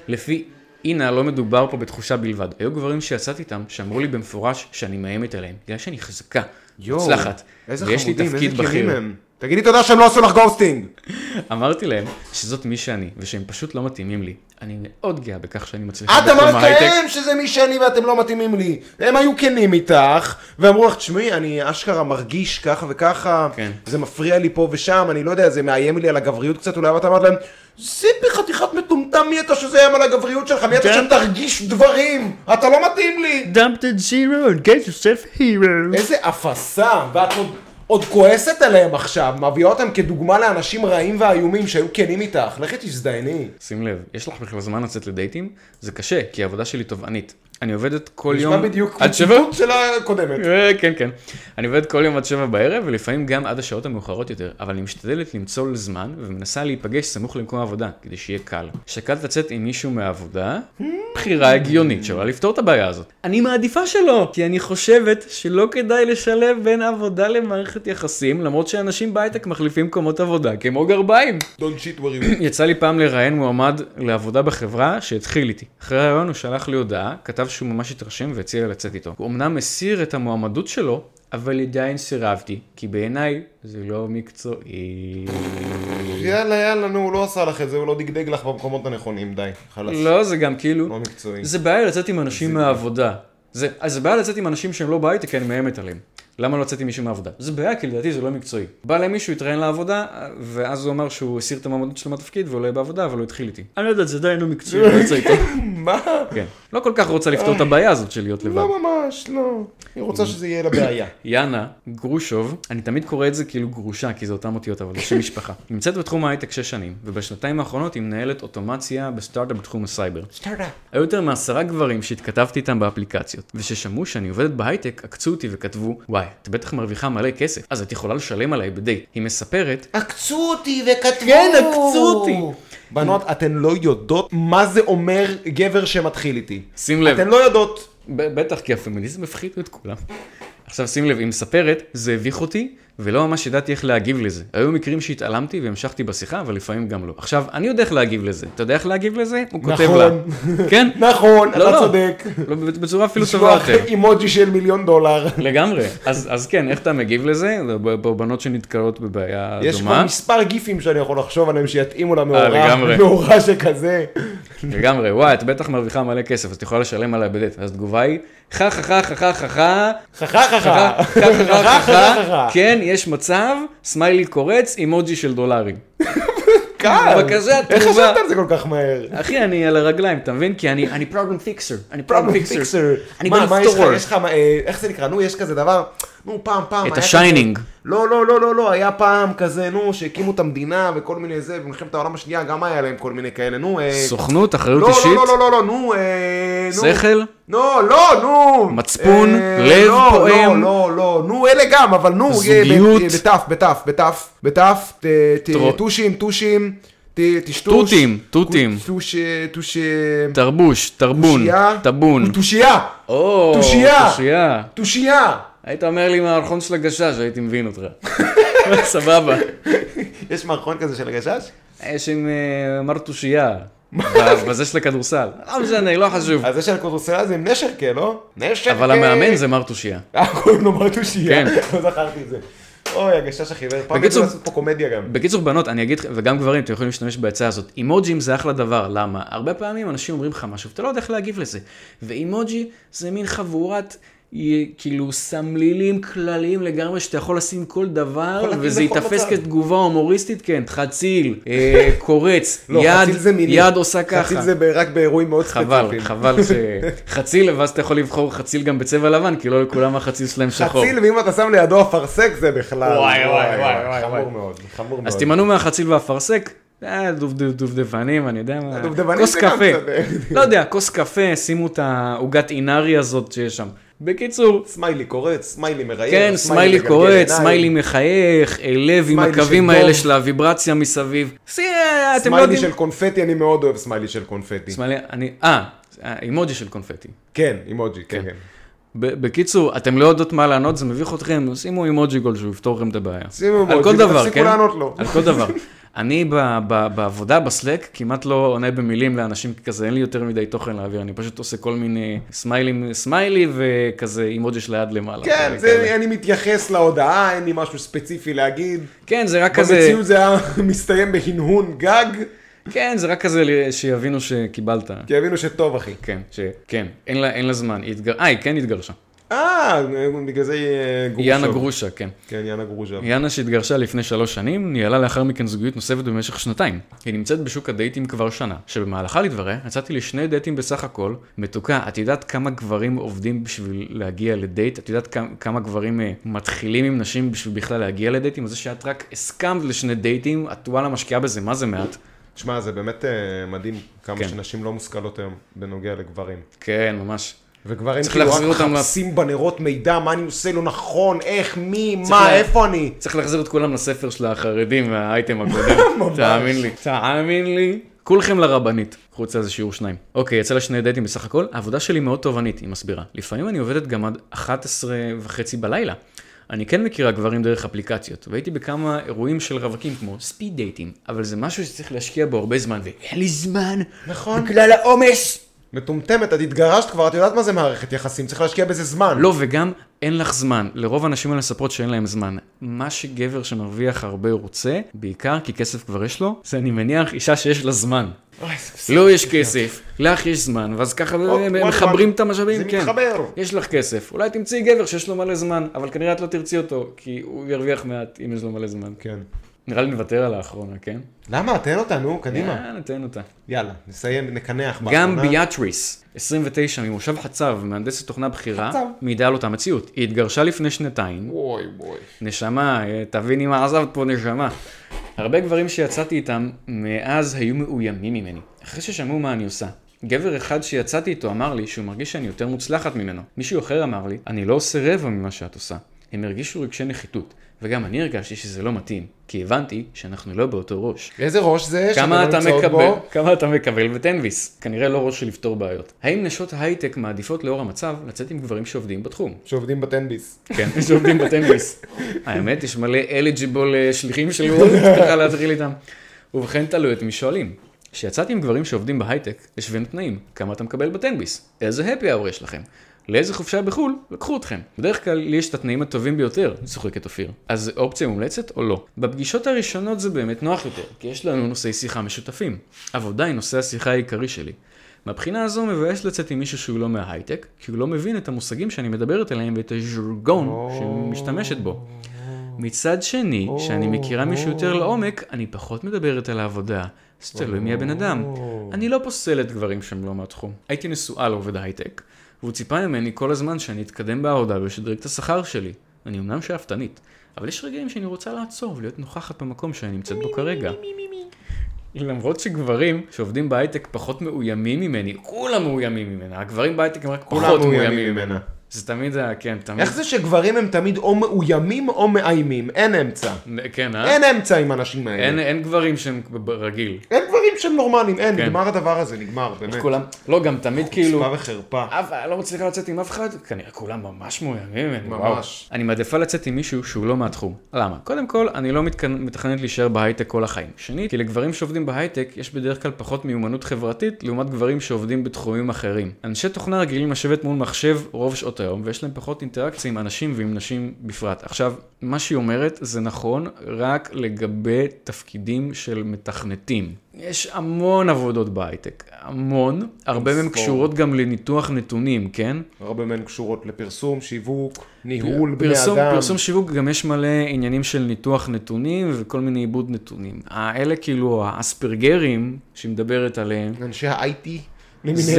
לפי אינה לא מדובר פה בתחושה בלבד. היו גברים שיצאתי איתם שאמרו לי במפורש שאני מאיימת עליהם, בגלל שאני חזקה, מוצלחת,
איזה
ויש לי
חמודים,
תפקיד
איזה כנים
בכיר.
הם. תגידי תודה שהם לא עשו לך גוסטינג.
אמרתי להם שזאת מי שאני, ושהם פשוט לא מתאימים לי. אני מאוד גאה בכך שאני מצליחה
את
בתחום
אמרת
ההייטק.
להם שזה מי שאני ואתם לא מתאימים לי. הם היו כנים איתך, ואמרו לך, תשמעי, אני אשכרה מרגיש ככה וככה,
כן.
זה מפריע לי פה ושם, אני לא יודע, זה מאיים לי על הגבריות קצת אולי, ואת אמרת להם, סיפי חתיכת מטומטם, מי אתה שזה ים על הגבריות שלך? מי אתה
כן.
שתרגיש דברים? אתה לא מתאים לי.
Dumped zero and get yourself hero.
איזה אפסה, ואת עוד... עוד כועסת עליהם עכשיו, מביאה אותם כדוגמה לאנשים רעים ואיומים שהיו כנים איתך, לכי תזדייני.
שים לב, יש לך בכלל זמן לצאת לדייטים? זה קשה, כי העבודה שלי תובענית. אני עובדת כל יום...
נשמע בדיוק
עד שבע?
ציטוט של הקודמת.
אה, כן, כן. אני עובד כל יום עד שבע בערב, ולפעמים גם עד השעות המאוחרות יותר, אבל אני משתדלת למצוא לו זמן, ומנסה להיפגש סמוך למקום העבודה, כדי שיהיה קל. שקלת לצאת עם מישהו מהעבודה? בחירה הגיונית שעולה לפתור את הבעיה הזאת.
אני מעדיפה שלא, כי אני חושבת שלא כדאי לשלב בין עבודה למערכת
יחסים, למרות שאנשים בהייטק מחליפים קומות עבודה כמו גרביים.
Don't shit where you
יצא לי פעם לראיין מועמד לעבודה בחברה שהתחיל איתי. אחרי הרעיון הוא שלח לי הודעה, כתב שהוא ממש התרשם והציע לי לצאת איתו. הוא אמנם הסיר את המועמדות שלו, אבל עדיין סירבתי, כי בעיניי זה לא
[coughs]
מקצועי.
יאללה, יאללה, נו, הוא לא עשה לך את זה, הוא לא דגדג לך במקומות הנכונים, די. חלאס.
לא, זה גם כאילו,
לא מקצועי.
זה בעיה לצאת עם אנשים מהעבודה. זה, אז זה בעיה לצאת עם אנשים שהם לא בהייטק, כי אני מאיימת עליהם. למה לא לצאת עם מישהו מהעבודה? זה בעיה, כי לדעתי זה לא מקצועי. בא למישהו, התראיין לעבודה, ואז הוא אמר שהוא הסיר את המועמדות שלו מהתפקיד והוא לא יהיה בעבודה, אבל הוא התחיל איתי.
אני לא יודע, זה עדיין לא מקצועי, לא יוצא איתו.
מה?
כן. לא כל כך רוצה לפתור את הבעיה הזאת של להיות לבד.
אה. לא ממש, לא. היא רוצה שזה יהיה לה [coughs] בעיה.
יאנה גרושוב, אני תמיד קורא את זה כאילו גרושה, כי זה אותם אותיות, אבל זה
[laughs]
שם משפחה. נמצאת בתחום ההייטק שש שנים, ובשנתיים האחרונות היא מנהלת אוטומציה בסטארט-אפ בתחום הסייבר.
סטארט-אפ.
היו יותר מעשרה גברים שהתכתבתי איתם באפליקציות, וששמעו שאני עובדת בהייטק, עקצו אותי וכתבו, וואי, את בטח מרוויחה מלא כסף, אז את יכולה לשלם עליי בדייט. היא מספרת,
עקצו אותי וכתבו.
כן, עקצו אותי.
בנות, אתן לא יודעות מה זה אומר גבר שמתחיל איתי.
שים לב.
אתן לא יודעות.
ב- בטח, כי הפמיניזם הפחיד את כולם. עכשיו שים לב, היא מספרת, זה הביך אותי, ולא ממש ידעתי איך להגיב לזה. היו מקרים שהתעלמתי והמשכתי בשיחה, אבל לפעמים גם לא. עכשיו, אני יודע איך להגיב לזה. אתה יודע איך להגיב לזה? הוא כותב
נכון.
לה. כן?
נכון,
לא,
אתה
לא.
צודק.
לא, בצורה אפילו טובה
לשלוח
יותר.
אימוג'י של מיליון דולר.
לגמרי. אז, אז כן, איך אתה מגיב לזה? ב- ב- בנות שנתקלות בבעיה
יש כבר
דומה.
מספר גיפים שאני יכול לחשוב עליהם שיתאימו
אה, לגמרי.
למאורע שכזה.
לגמרי, וואי, את בטח מרוויחה מלא כסף, אז את יכולה לשלם עליה בדלת. אז התגובה היא, חה חה חה חה חה חה חה חה, חה,
חככה.
חה, חה, חה,
חככה.
כן, יש מצב, סמיילי קורץ, אימוג'י של דולרים.
[laughs]
אה,
קל.
בבקשה,
אה, איך
תגובה.
חשבת על זה כל כך מהר?
אחי, אני על הרגליים, אתה מבין? כי אני פרובלם פיקסר. אני פרובלם פיקסר. אני
מה,
גם
מה יש לך,
לפתור.
יש לך, מה, אה, איך זה נקרא, נו, יש כזה דבר, נו, פעם, פעם.
את
היה
השיינינג.
כזה- לא, לא, לא, לא, לא, היה פעם כזה, נו, שהקימו את המדינה וכל מיני זה, במלחמת העולם השנייה גם היה להם כל מיני כאלה, נו. אה,
סוכנות, אחריות
לא,
אישית,
לא, לא, לא, לא, לא, נו, אה, נו.
שכל,
לא, לא, נו.
מצפון,
אה,
לב
לא,
פועם.
לא, לא, לא, נו, אלה גם, אבל נו. יהיה ב-
זוגיות.
אה, בתף, בתף, בתף, בתף, ת- ת-
טרו-
טושים, טושים, ת- טשטוש.
תותים, תותים.
טוש, אה, טוש,
תרבוש, תרבון,
תושייה.
טבון.
טושייה,
או,
תושייה.
תושייה.
טושייה.
היית אומר לי מהארכון של הגשש, הייתי
[laughs]
מבין אותך. סבבה.
יש מערכון כזה של הגשש?
יש עם אה, מר תושייה. בזה של הכדורסל. לא משנה, לא חשוב.
אז זה של הכדורסל זה עם נשרקה, לא? נשרקה.
אבל המאמן זה מר תושייה.
אה, קוראים לו מר תושייה.
כן.
לא זכרתי את זה. אוי, הגשש החיוור. פעם ידעו
בקיצור-
לעשות פה קומדיה גם.
בקיצור, בנות, אני אגיד, וגם גברים, אתם יכולים להשתמש בעצה הזאת. אימוג'ים זה אחלה דבר, למה? הרבה פעמים אנשים אומרים לך משהו, ואתה לא יודע איך להגיב לזה. ואימוג'י זה מין חבורת... היא, כאילו סמלילים כלליים לגמרי שאתה יכול לשים כל דבר
יכול להתאים
וזה
לכל
ייתפס
מצב.
כתגובה הומוריסטית, כן, חציל,
[laughs]
אה, קורץ,
לא,
יד,
חציל זה מיני.
יד עושה ככה.
חציל זה ב- רק באירועים מאוד ספציפיים.
חבל, חבל ש... חציל, ואז אתה יכול לבחור חציל גם בצבע לבן, כי לא לכולם החציל שלהם שחור.
חציל, ואם אתה שם לידו אפרסק זה בכלל.
וואי, וואי, וואי, וואי,
חמור
וואי.
מאוד, חמור מאוד.
אז תימנעו מהחציל והאפרסק, אה, דובד- דובדבנים, אני יודע מה,
דובדבנים
כוס
זה גם [laughs]
קפה,
קצת, אה,
לא יודע, כוס קפה, שימו את העוגת אינארי הזאת שיש שם. בקיצור,
סמיילי קורץ, אה, סמיילי מראיין.
כן, סמיילי
מגלגל
קורץ,
עיניים.
סמיילי מחייך, אה, לב עם
סמיילי
הקווים
של
האלה
דוב.
של הוויברציה מסביב. סי, אה, אתם לא
סמיילי
יודעים.
של קונפטי, אני מאוד אוהב סמיילי של קונפטי.
סמיילי, אני, אה, אימוג'י של קונפטי.
כן, אימוג'י, כן, כן.
אוקיי, ב- בקיצור, אתם לא יודעות מה לענות, זה מביך אתכם, שימו אימוג'י גולדשו, יפתור לכם את הבעיה.
שימו
על
אימוג'י
כל דבר,
ותפסיקו
כן?
לענות לו.
על כל דבר. אני ב- ב- בעבודה בסלק כמעט לא עונה במילים לאנשים כי כזה, אין לי יותר מדי תוכן להעביר, אני פשוט עושה כל מיני סמיילים, סמיילי וכזה אימוג'י של היד למעלה.
כן,
כאלה, כאלה.
זה- אני מתייחס להודעה, אין לי משהו ספציפי להגיד.
כן, זה רק כזה,
במציאות זה היה [laughs] מסתיים בהנהון גג,
כן, זה רק כזה ל- שיבינו שקיבלת.
כי הבינו שטוב, אחי.
כן, ש... כן, אין לה, אין לה זמן, היא התגר... אה, היא כן התגרשה.
אה, בגלל זה אה, גרושוב.
יאנה גרושה, כן.
כן, יאנה גרושוב.
יאנה שהתגרשה לפני שלוש שנים, ניהלה לאחר מכן זוגיות נוספת במשך שנתיים. היא נמצאת בשוק הדייטים כבר שנה, שבמהלכה לדבריה יצאתי לשני דייטים בסך הכל. מתוקה, את יודעת כמה גברים עובדים בשביל להגיע לדייט? את יודעת כמה, כמה גברים אה, מתחילים עם נשים בשביל בכלל להגיע לדייטים? אז זה שאת רק הסכמת לשני דייטים, את וואלה משקיעה בזה, מה זה מעט?
תשמע, זה באמת אה, מדהים כמה
כן.
שנשים לא מושכלות היום בנוגע לגברים.
כן, ממש.
וגברים
צריך
כאילו רק
להחזיר אותם ל-
מחפשים בנרות מידע, מה אני עושה לא נכון, איך, מי,
צריך
מה,
לה-
איפה אני.
צריך להחזיר את כולם לספר של החרדים מהאייטם הקודם. תאמין לי. תאמין לי. כולכם לרבנית, חוץ איזה שיעור שניים. אוקיי, יצא לה שני דייטים בסך הכל. העבודה שלי מאוד תובענית, היא מסבירה. לפעמים אני עובדת גם עד 11 וחצי בלילה. אני כן מכירה גברים דרך אפליקציות, והייתי בכמה אירועים של רווקים כמו ספיד דייטים, אבל זה משהו שצריך להשקיע בו הרבה זמן, ואין לי זמן.
נכון. בגלל העומס. מטומטמת, את התגרשת כבר, את יודעת מה זה מערכת יחסים, צריך להשקיע בזה זמן.
לא, וגם אין לך זמן. לרוב האנשים האלה מספרות שאין להם זמן. מה שגבר שמרוויח הרבה רוצה, בעיקר כי כסף כבר יש לו, זה אני מניח אישה שיש לה זמן.
אוי, זה בסדר.
לא יש כסף, לך יש זמן, ואז ככה
וואט, וואט,
מחברים
וואט.
את המשאבים.
אוקיי, זה
כן.
מתחבר.
יש לך כסף, אולי תמצאי גבר שיש לו מלא זמן, אבל כנראה את לא תרצי אותו, כי הוא ירוויח מעט אם יש לו מלא זמן.
כן.
נראה לי נוותר על האחרונה, כן?
למה? תן אותה, נו, קדימה.
אה, נתן אותה.
יאללה, נסיים, נקנח.
גם
באחרונה.
ביאטריס, 29, ממושב חצב, מהנדסת תוכנה בכירה,
חצב.
מעידה על אותה מציאות. היא התגרשה לפני שנתיים.
אוי, בואי.
נשמה, אה, תביני מה עזבת פה, נשמה. הרבה גברים שיצאתי איתם מאז היו מאוימים ממני, אחרי ששמעו מה אני עושה. גבר אחד שיצאתי איתו אמר לי שהוא מרגיש שאני יותר מוצלחת ממנו. מישהו אחר אמר לי, אני לא עושה רבע ממה שאת עושה. הם הרגישו רגשי נחיתות, וגם אני הרגשתי שזה לא מתאים, כי הבנתי שאנחנו לא באותו ראש.
איזה ראש זה שאתם
כמה
לא
אתה
נמצאות
מקבל,
בו?
כמה אתה מקבל ותנביס. כנראה לא ראש של לפתור בעיות. האם נשות הייטק מעדיפות לאור המצב לצאת עם גברים שעובדים בתחום?
שעובדים בטנביס.
כן, שעובדים בטניס. האמת, יש מלא eligible אה, שליחים של וולט, ככה להתחיל איתם. ובכן תלוי את מי שואלים. כשיצאתי עם גברים שעובדים בהייטק, השווינו תנאים, כמה אתה מקבל בטנביס, איזה happy hour יש לכם, לאיזה חופשה בחו"ל, לקחו אתכם. בדרך כלל לי יש את התנאים הטובים ביותר, צוחקת אופיר. אז זו אופציה מומלצת או לא? בפגישות הראשונות זה באמת נוח יותר, כי יש לנו נושאי שיחה משותפים. עבודה היא נושא השיחה העיקרי שלי. מהבחינה הזו מבאס לצאת עם מישהו שהוא לא מההייטק, כי הוא לא מבין את המושגים שאני מדברת עליהם ואת הז'רגון שהיא משתמשת בו. מצד שני, כשאני מכירה מישהו יותר לעומק, אני פחות מדברת על העבודה. אז תלוי מי הבן אדם. אני לא פוסלת גברים שהם לא מהתחום. הייתי נשואה לעובד הייטק, והוא ציפה ממני כל הזמן שאני אתקדם בעבודה ואשדרג את השכר שלי. אני אמנם שאפתנית, אבל יש רגעים שאני רוצה לעצור ולהיות נוכחת במקום שאני נמצאת בו כרגע. למרות שגברים שעובדים בהייטק פחות מאוימים ממני, כולם מאוימים ממנה, הגברים בהייטק הם רק
כולם
פחות
מאוימים
מאוימים
ממנה.
ממנה. זה תמיד ה... כן, תמיד.
איך זה שגברים הם תמיד או מאוימים או מאיימים? אין אמצע.
כן, אה?
אין אמצע עם האנשים האלה.
אין, אין גברים שהם ב- רגיל.
אין דברים שהם נורמליים, אין,
כן.
נגמר הדבר הזה, נגמר, באמת. אה,
כולם, לא, גם תמיד כאילו,
חוצפה וחרפה.
אף לא מצליחה לצאת עם אף אחד, כנראה כולם ממש מאוימים ממני, וואו.
ממש.
אני מעדיפה לצאת עם מישהו שהוא לא מהתחום. למה? קודם כל, אני לא מתכנ- מתכננת להישאר בהייטק כל החיים. שנית, כי לגברים שעובדים בהייטק, יש בדרך כלל פחות מיומנות חברתית, לעומת גברים שעובדים בתחומים אחרים. אנשי תוכנה רגילים לשבת מול מחשב רוב שעות היום, ויש להם פחות אינטראקציה עם אנשים ועם נשים בפרט. עכשיו, מה שהיא אומרת זה נכון רק לגבי תפקידים של מתכנתים. יש המון עבודות בהייטק, המון, הרבה מהן
ספור.
קשורות גם לניתוח נתונים, כן?
הרבה מהן קשורות לפרסום, שיווק, ניהול בני
פרסום,
אדם.
פרסום שיווק גם יש מלא עניינים של ניתוח נתונים וכל מיני עיבוד נתונים. האלה כאילו האספרגרים שהיא מדברת עליהם,
אנשי ה-IT
זה,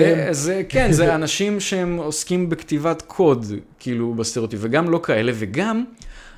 למיניהם.
זה כן, זה אנשים שהם עוסקים בכתיבת קוד, כאילו בסטריאוטיפ, וגם לא כאלה, וגם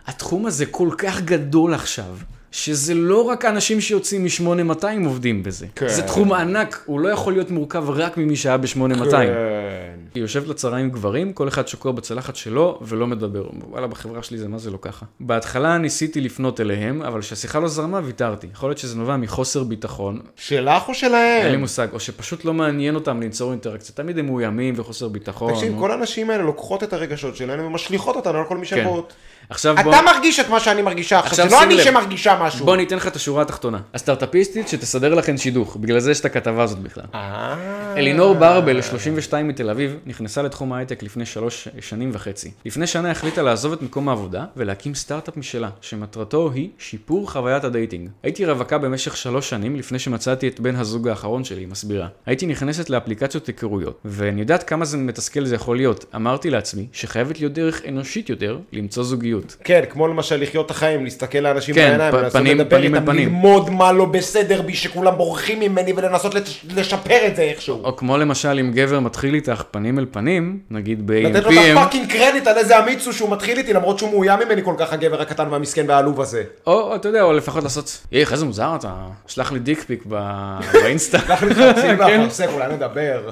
התחום הזה כל כך גדול עכשיו. שזה לא רק אנשים שיוצאים מ-8200 עובדים בזה.
כן.
זה תחום ענק, הוא לא יכול להיות מורכב רק ממי שהיה ב-8200.
כן.
היא יושבת לצהריים עם גברים, כל אחד שקוע בצלחת שלו ולא מדבר. וואלה, בחברה שלי זה מה זה לא ככה. בהתחלה ניסיתי לפנות אליהם, אבל כשהשיחה לא זרמה, ויתרתי. יכול להיות שזה נובע מחוסר ביטחון,
שלך או
אין לי
שלהם?
מושג, או שפשוט לא מעניין אותם ליצור אינטראקציה. תמיד הם מאוימים וחוסר ביטחון.
תקשיב,
או-
כל הנשים האלה לוקחות את הרגשות שלהן ומשליכות אותן על כל מי שהן
כן.
רואות.
עכשיו בוא...
אתה מרגיש את מה שאני מרגישה עכשיו,
עכשיו
זה לא
שים
אני
לב.
שמרגישה משהו.
בוא אני אתן לך את השורה התחתונה. הסטארטאפיסטית שתסדר לכן שידוך, בגלל זה יש את הכתבה הזאת בכלל.
אה.
אלינור ברבל, 32 מתל אביב, נכנסה לתחום ההייטק לפני שלוש שנים וחצי. לפני שנה החליטה לעזוב את מקום העבודה ולהקים סטארט-אפ משלה, שמטרתו היא שיפור חוויית הדייטינג. הייתי רווקה במשך שלוש שנים לפני שמצאתי את בן הזוג האחרון שלי, היא מסבירה. הייתי נכנסת לאפליקציות היכרויות, ואני יודעת כמה זה מתסכל זה יכול להיות. אמרתי לעצמי שחייבת להיות דרך אנושית יותר למצוא זוגיות.
כן, כמו למשל לחיות את החיים, להסתכל לאנשים
כן,
בעיניים,
פ-
ולנסות
פנים-
לדבר
פנים אל
איתם,
פנים.
ללמוד מה לא בסדר בי שכולם בורחים ממני ולנסות לש- לשפר את זה איכשהו.
או כמו למשל אם גבר מתחיל איתך פנים אל פנים, נגיד
לתת לו את
ב-AMPM,
הפאקינג קרדיט על איזה אמיץ הוא שהוא מתחיל איתי למרות שהוא מאוים ממני כל כך הגבר הקטן והמסכן והעלוב הזה.
או, אתה יודע, או לפחות לעשות, איך, איזה מוזר אתה, שלח לי דיק פיק ב- באינסטה.
אנחנו מתחפשים
[laughs] [laughs] כן.
לאפרסק, אולי נדבר.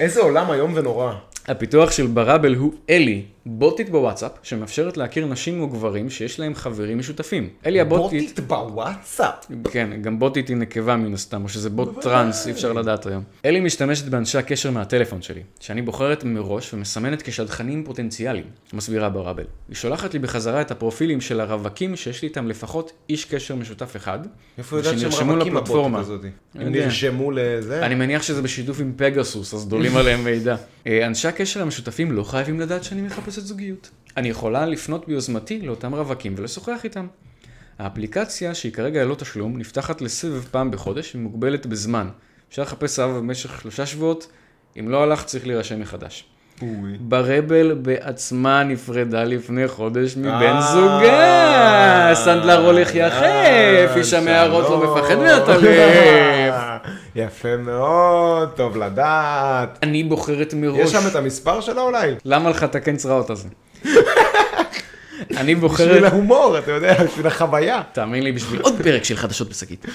איזה עולם איום ונורא.
הפיתוח של בראבל הוא אלי, בוטית בוואטסאפ, שמאפשרת להכיר נשים וגברים שיש להם חברים משותפים. אלי הבוטית,
בוטית בוואטסאפ.
כן, גם בוטית היא נקבה מן הסתם, או שזה בוט טראנס, אי אפשר לדעת היום. אלי משתמשת באנשי הקשר מהטלפון שלי, שאני בוחרת מראש ומסמנת כשדכנים פוטנציאליים, מסבירה בראבל. היא שולחת לי בחזרה את הפרופילים של הרווקים שיש לי איתם לפחות איש קשר משותף אחד,
איפה יודעת שהם
ושנרשמו
רווקים
לפלטפורמה.
הבוטית הזאת?
אני
הם
יודע.
נרשמו לזה?
אני מניח שזה בשיתוף עם פגסוס, אז
[laughs]
דולים עליהם מידע. אה, אנשי הקשר המשותפים לא חייבים לדעת שאני מחפשת זוגיות. אני יכולה לפנות ביוזמתי לאותם רווקים ולשוחח איתם. האפליקציה, שהיא כרגע ללא תשלום, נפתחת לסבב פעם בחודש ומוגבלת בזמן. אפשר לחפש אהבה במשך שלושה שבועות, אם לא הלך צריך להירשם מחדש.
פוי.
ברבל בעצמה נפרדה לפני חודש מבן
אה,
זוגה. אה, סנדלר הולך יחף,
אה,
איש המערות לא
שלום.
מפחד מהטרף.
[laughs] יפה מאוד, טוב לדעת.
אני בוחרת מראש.
יש שם את המספר שלה אולי?
למה לך לתקן צרעות [laughs] הזה? אני
בשביל
בוחרת...
ההומור, אתה יודע, בשביל החוויה.
תאמין לי, בשביל עוד פרק של חדשות בשקית.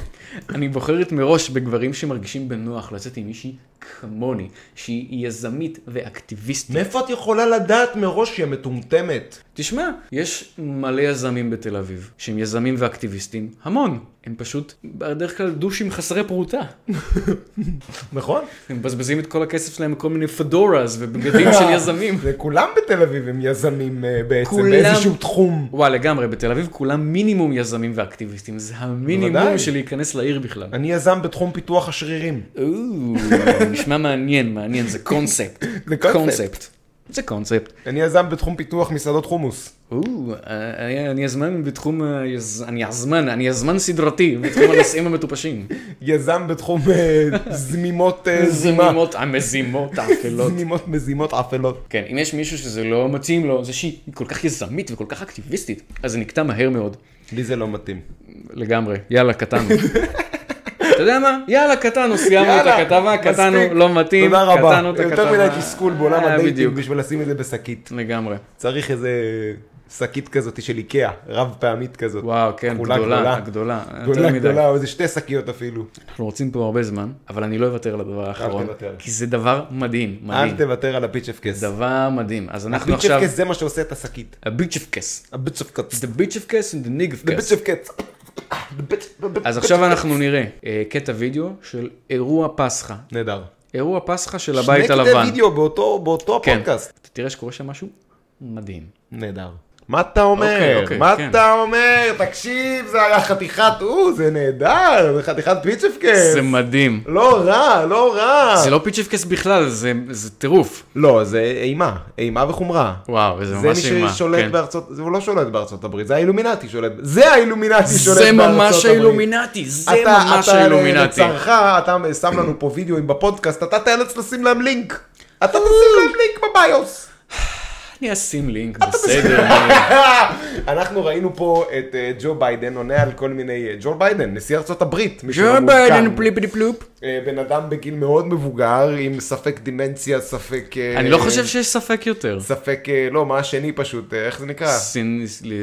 [laughs] אני בוחרת מראש בגברים שמרגישים בנוח לצאת עם מישהי כמוני, שהיא יזמית ואקטיביסטית.
מאיפה את יכולה לדעת מראש שהיא מטומטמת?
תשמע, יש מלא יזמים בתל אביב, שהם יזמים ואקטיביסטים, המון. הם פשוט בדרך כלל דושים חסרי פרוטה.
נכון?
הם מבזבזים את כל הכסף שלהם בכל מיני פדורז ובגדים [laughs] של יזמים.
זה כולם בתל אביב הם יזמים אה, בעצם,
כולם.
באיזשהו תחום.
וואי, לגמרי, בתל אביב כולם מינימום יזמים ואקטיביסטים, זה המינימום
בוודאי.
של להיכנס לעיר בכלל.
אני יזם בתחום פיתוח השרירים.
או, נשמע מעניין, מעניין, זה קונספט.
[laughs] זה קונספט.
זה קונספט.
אני יזם בתחום פיתוח מסעדות חומוס.
או, אה, אני- אני יזמן בתחום, ה- יז- אני יזמן, אני יזמן סדרתי בתחום הנושאים המטופשים.
יזם בתחום אה, זמימות אה, זימה.
זמימות, המזימות האפלות. [laughs]
זמימות מזימות אפלות.
כן, אם יש מישהו שזה לא מתאים לו, זה שהיא כל כך יזמית וכל כך אקטיביסטית, אז זה נקטע מהר מאוד.
לי זה לא מתאים.
לגמרי. יאללה,
[laughs]
קטנו. אתה יודע מה? יאללה, קטנו, סיימנו את
יאללה,
הכתבה, קטנו,
מספיק.
לא מתאים,
תודה רבה.
קטנו את הכתבה.
יותר מדי תסכול בעולם
אה, בדיוק,
הדייטים בשביל לשים את זה בשקית.
לגמרי.
צריך איזה שקית כזאת של איקאה, רב פעמית כזאת.
וואו, כן,
כחולה,
גדולה, גדולה. יותר
גדולה,
מדי.
גדולה, או איזה שתי שקיות אפילו.
אנחנו רוצים פה הרבה זמן, אבל אני לא אוותר על הדבר האחרון,
תוותר.
כי זה דבר מדהים, מדהים.
אל תוותר על הפיצ'פקס.
דבר מדהים. אז אנחנו עכשיו...
הפיצ'פקס זה מה שעושה את השקית.
הביצ'פקס.
הפיצ'פקס.
The bitch of case and the nig of case.
הפיצ'פקס.
אז עכשיו אנחנו נראה אה, קטע וידאו של אירוע פסחא.
נהדר.
אירוע פסחא של הבית
שני
הלבן.
קטעי וידאו באותו באותו
כן.
הפודקאסט.
אתה תראה שקורה שם משהו מדהים.
נהדר. מה אתה אומר?
אוקיי, אוקיי,
מה
כן.
אתה אומר? תקשיב, זה היה חתיכת, או, זה נהדר, זה חתיכת פיצ'פקס.
זה מדהים.
לא רע, לא רע.
זה לא פיצ'פקס בכלל, זה- זה טירוף.
לא, זה אימה, אימה וחומרה.
וואו, זה
זה
ממש אימה.
מי ששולט
כן.
בארצות, זה הוא לא שולט בארצות הברית, זה האילומינטי שולט, זה האילומינטי שולט
זה
בארצות הברית.
ממש האילומינטי, זה
אתה-
ממש האילומינטי.
אתה לצערך, אתה שם לנו פה וידאוים בפודקאסט, אתה תיאלץ לשים להם לינק. אתה תשים להם לינק בביוס. [laughs]
אני אשים לינק, בסדר.
אנחנו ראינו פה את אה, ג'ו ביידן עונה על כל מיני, אה, ג'ו ביידן, נשיא ארצות הברית. מי שלא
ג'ו
מעודכן.
ביידן פליפי פלופ.
אה, בן אדם בגיל מאוד מבוגר, עם ספק דימנציה, ספק... אה,
אני לא חושב שיש ספק יותר.
ספק, אה, לא, מה השני פשוט, אה, איך זה נקרא?
סין- ל-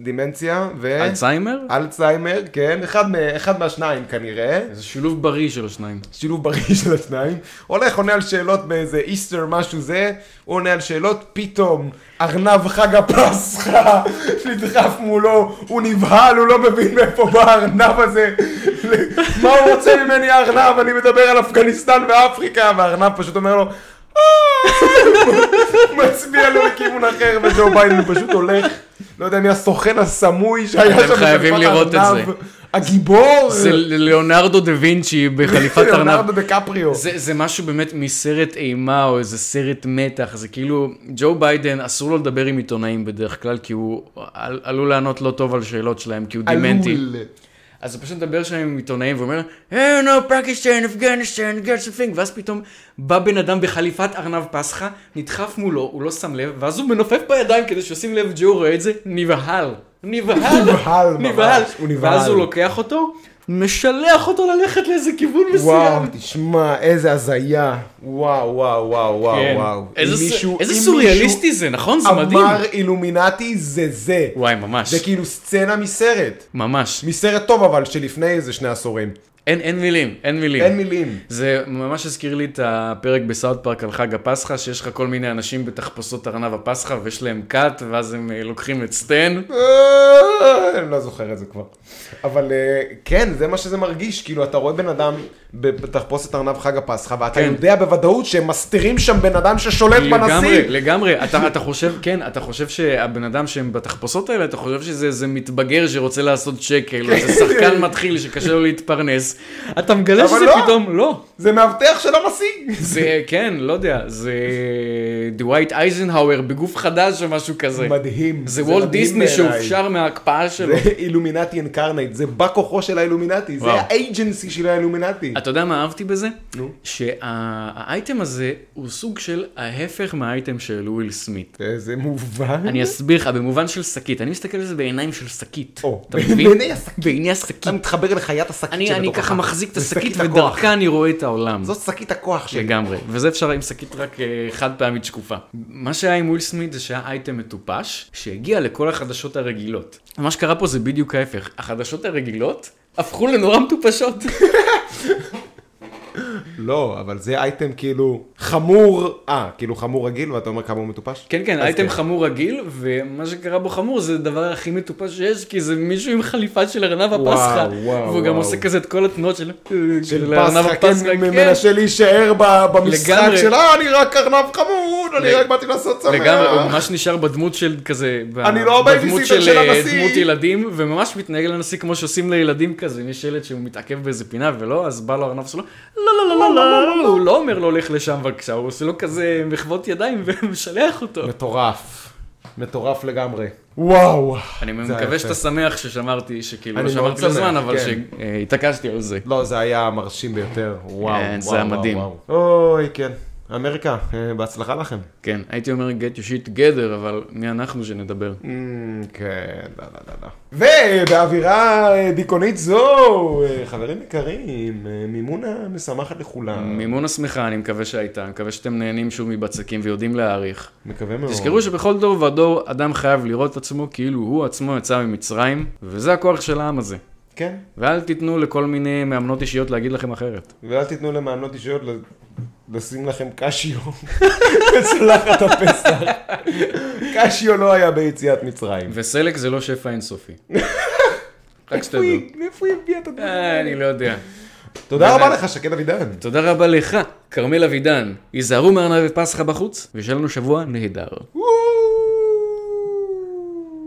דימנציה ו...
אלצהיימר?
אה. אלצהיימר, כן, אחד, מה- אחד מהשניים כנראה,
זה שילוב בריא של השניים.
שילוב בריא של השניים, הולך עונה על שאלות באיזה איסטר משהו זה, הוא עונה על שאלות, פתאום ארנב חג הפסחא [laughs] נדחף מולו, הוא נבהל, הוא לא מבין מאיפה בא הארנב הזה, [laughs] מה הוא רוצה ממני הארנב, אני מדבר על אפגניסטן ואפריקה, והארנב פשוט אומר לו, "אה!" [laughs] מצביע לו לכיוון אחר, וג'ו ביידן פשוט הולך. לא יודע מי הסוכן הסמוי שהיה שם.
אתם חייבים
בחליפת
לראות את
ארנב.
זה.
הגיבור.
זה ליאונרדו דה וינצ'י בחליפת ארנב.
[laughs] ליאונרדו דקפריו.
זה, זה משהו באמת מסרט אימה או איזה סרט מתח, זה כאילו, ג'ו ביידן אסור לו לדבר עם עיתונאים בדרך כלל, כי הוא על, עלול לענות לא טוב על שאלות שלהם, כי הוא דימנטי.
עלול.
אז הוא פשוט מדבר שם עם עיתונאים ואומר, אה, נו, פקיסטן, אפגניסטן, גרספינג, ואז פתאום בא בן אדם בחליפת ארנב פסחא, נדחף מולו, הוא לא שם לב, ואז הוא מנופף בידיים כדי שישים לב, ג'ו רואה את זה, נבהל. נבהל.
נבהל ממש,
נבהל.
הוא נבהל.
ואז הוא לוקח אותו, משלח אותו ללכת לאיזה כיוון
וואו, כן.
מסוים.
תשמע, איזה הזיה. וואו, וואו, וואו, וואו,
כן.
וואו.
איזה,
אם
ס-
מישהו-
איזה
אם
סוריאליסטי זה, נכון? זה
מישהו
מדהים.
אמר אילומינטי זה זה.
וואי, ממש.
זה כאילו סצנה מסרט.
ממש.
מסרט טוב אבל, שלפני איזה שני עשורים.
אין, אין מילים, אין מילים.
אין מילים.
זה ממש הזכיר לי את הפרק בסאוט פארק על חג הפסחא, שיש לך כל מיני אנשים בתחפושות ארנב הפסחא ויש להם כת, ואז הם אה, לוקחים את סטן.
אה, אני לא זוכר את זה כבר. אבל אה, כן, זה מה שזה מרגיש, כאילו אתה רואה בן אדם בתחפושת ארנב חג הפסחא, ואתה
כן.
יודע בוודאות שהם מסתירים שם בן אדם ששולט בנשיא.
לגמרי, לגמרי. אתה, אתה חושב, כן, אתה חושב שהבן אדם שהם כאילו, בתחפושות האלה, אתה חושב שזה איזה מתבגר שרוצה לעשות שקל, או איזה שחקן מתחיל שקשה לו להתפרנס,
להיכנס, אתה מגלה
אבל
שזה
לא.
פתאום, לא.
זה מאבטח של המסיג.
זה, כן, לא יודע, זה דווייט אייזנהאואר בגוף חדש או משהו כזה.
מדהים.
זה וולט
מדהים
דיסני
בעיניי.
שהופשר מההקפאה שלו.
זה אילומינטי אינקרנט, זה בא כוחו של האילומינטי, זה
וואו.
האייג'נסי של האילומינטי.
אתה יודע מה אהבתי בזה?
נו.
שהאייטם הזה הוא סוג של ההפך מהאייטם של וויל סמית.
זה מובן.
אני אסביר לך, במובן של שקית, אני מסתכל על זה בעיניים של שקית.
או,
אתה מבין?
בעיני השקית.
בעיני
אתה
השקית.
מתחבר לחיית השקית
אני
שבתוכך.
אני ככה מחזיק את
זה
השקית
הכוח.
ודרכה אני רואה את העולם.
זאת שקית הכוח שלי.
לגמרי, וזה אפשר עם שקית רק אה, חד פעמית שקופה. מה שהיה עם וויל סמית זה שהיה אייטם מטופש, שהגיע לכל החדשות הרגילות. מה שקרה פה זה בדיוק ההפך, החדשות הרגילות הפכו לנורא מטופשות.
לא, אבל זה אייטם כאילו חמור, אה, כאילו חמור רגיל, ואתה אומר כמה הוא מטופש?
כן, כן,
אז
אייטם חמור רגיל, ומה שקרה בו חמור זה הדבר הכי מטופש שיש, כי זה מישהו עם חליפה של ארנב
וואו,
הפסחא,
וואו,
והוא גם
וואו.
עושה כזה את כל התנועות של
של
ארנב
פסחא, כן, מנסה להישאר ב- במשחק
לגמרי.
של אה, אני רק ארנב חמוד, אני
לג-
רק באתי לעשות אה? שמח.
לגמרי, הוא ממש נשאר בדמות של כזה, ב-
אני לא הבייביסיטר
בדמות של
של
אה,
הנשיא.
דמות ילדים, וממש מתנהג לנשיא כמו שעושים לילדים כזה, אם יש ילד שהוא מתעכב באיזה פינה ולא, אז בא לו ארנב שלו, לא, לא, לא, לא, לא, הוא לא אומר לו לך לשם בבקשה, הוא עושה לו כזה מחוות ידיים [laughs] ומשלח אותו.
מטורף. מטורף לגמרי. וואו.
אני
זה היה
מקווה
יפה.
שאתה שמח ששמרתי, שכאילו,
אני
לא
מאוד
שמרתי לזמן,
שמח,
אבל
כן.
שהתעקשתי על זה.
לא, זה היה מרשים ביותר. וואו,
כן,
וואו,
זה היה מדהים.
וואו. אוי, כן. אמריקה, אה, בהצלחה לכם.
כן, הייתי אומר get your shit together, אבל מי אנחנו שנדבר?
כן, לא, לא, לא, לא. ובאווירה אה, דיכאונית זו, אה, חברים יקרים, אה, מימונה משמחת לכולם.
מימון השמחה, אני מקווה שהייתה, אני מקווה שאתם נהנים שוב מבצקים ויודעים להעריך.
מקווה מאוד.
תזכרו שבכל דור ודור אדם חייב לראות את עצמו כאילו הוא עצמו יצא ממצרים, וזה הכוח של העם הזה.
כן,
ואל תיתנו לכל מיני מאמנות אישיות להגיד לכם אחרת.
ואל תיתנו למענות אישיות ל- לשים לכם קשיו [laughs] בצלחת הפסח. קשיו לא היה ביציאת מצרים.
וסלק זה לא שפע אינסופי.
[laughs]
רק
איפה
שתדעו.
היא- מאיפה היא הביאה את הדברים?
אה, אני לא יודע.
תודה רבה
באמת.
לך, שקד אבידן.
תודה רבה לך, כרמל אבידן. היזהרו מארנבי פסחא בחוץ, ושיהיה לנו שבוע נהדר.
וואו.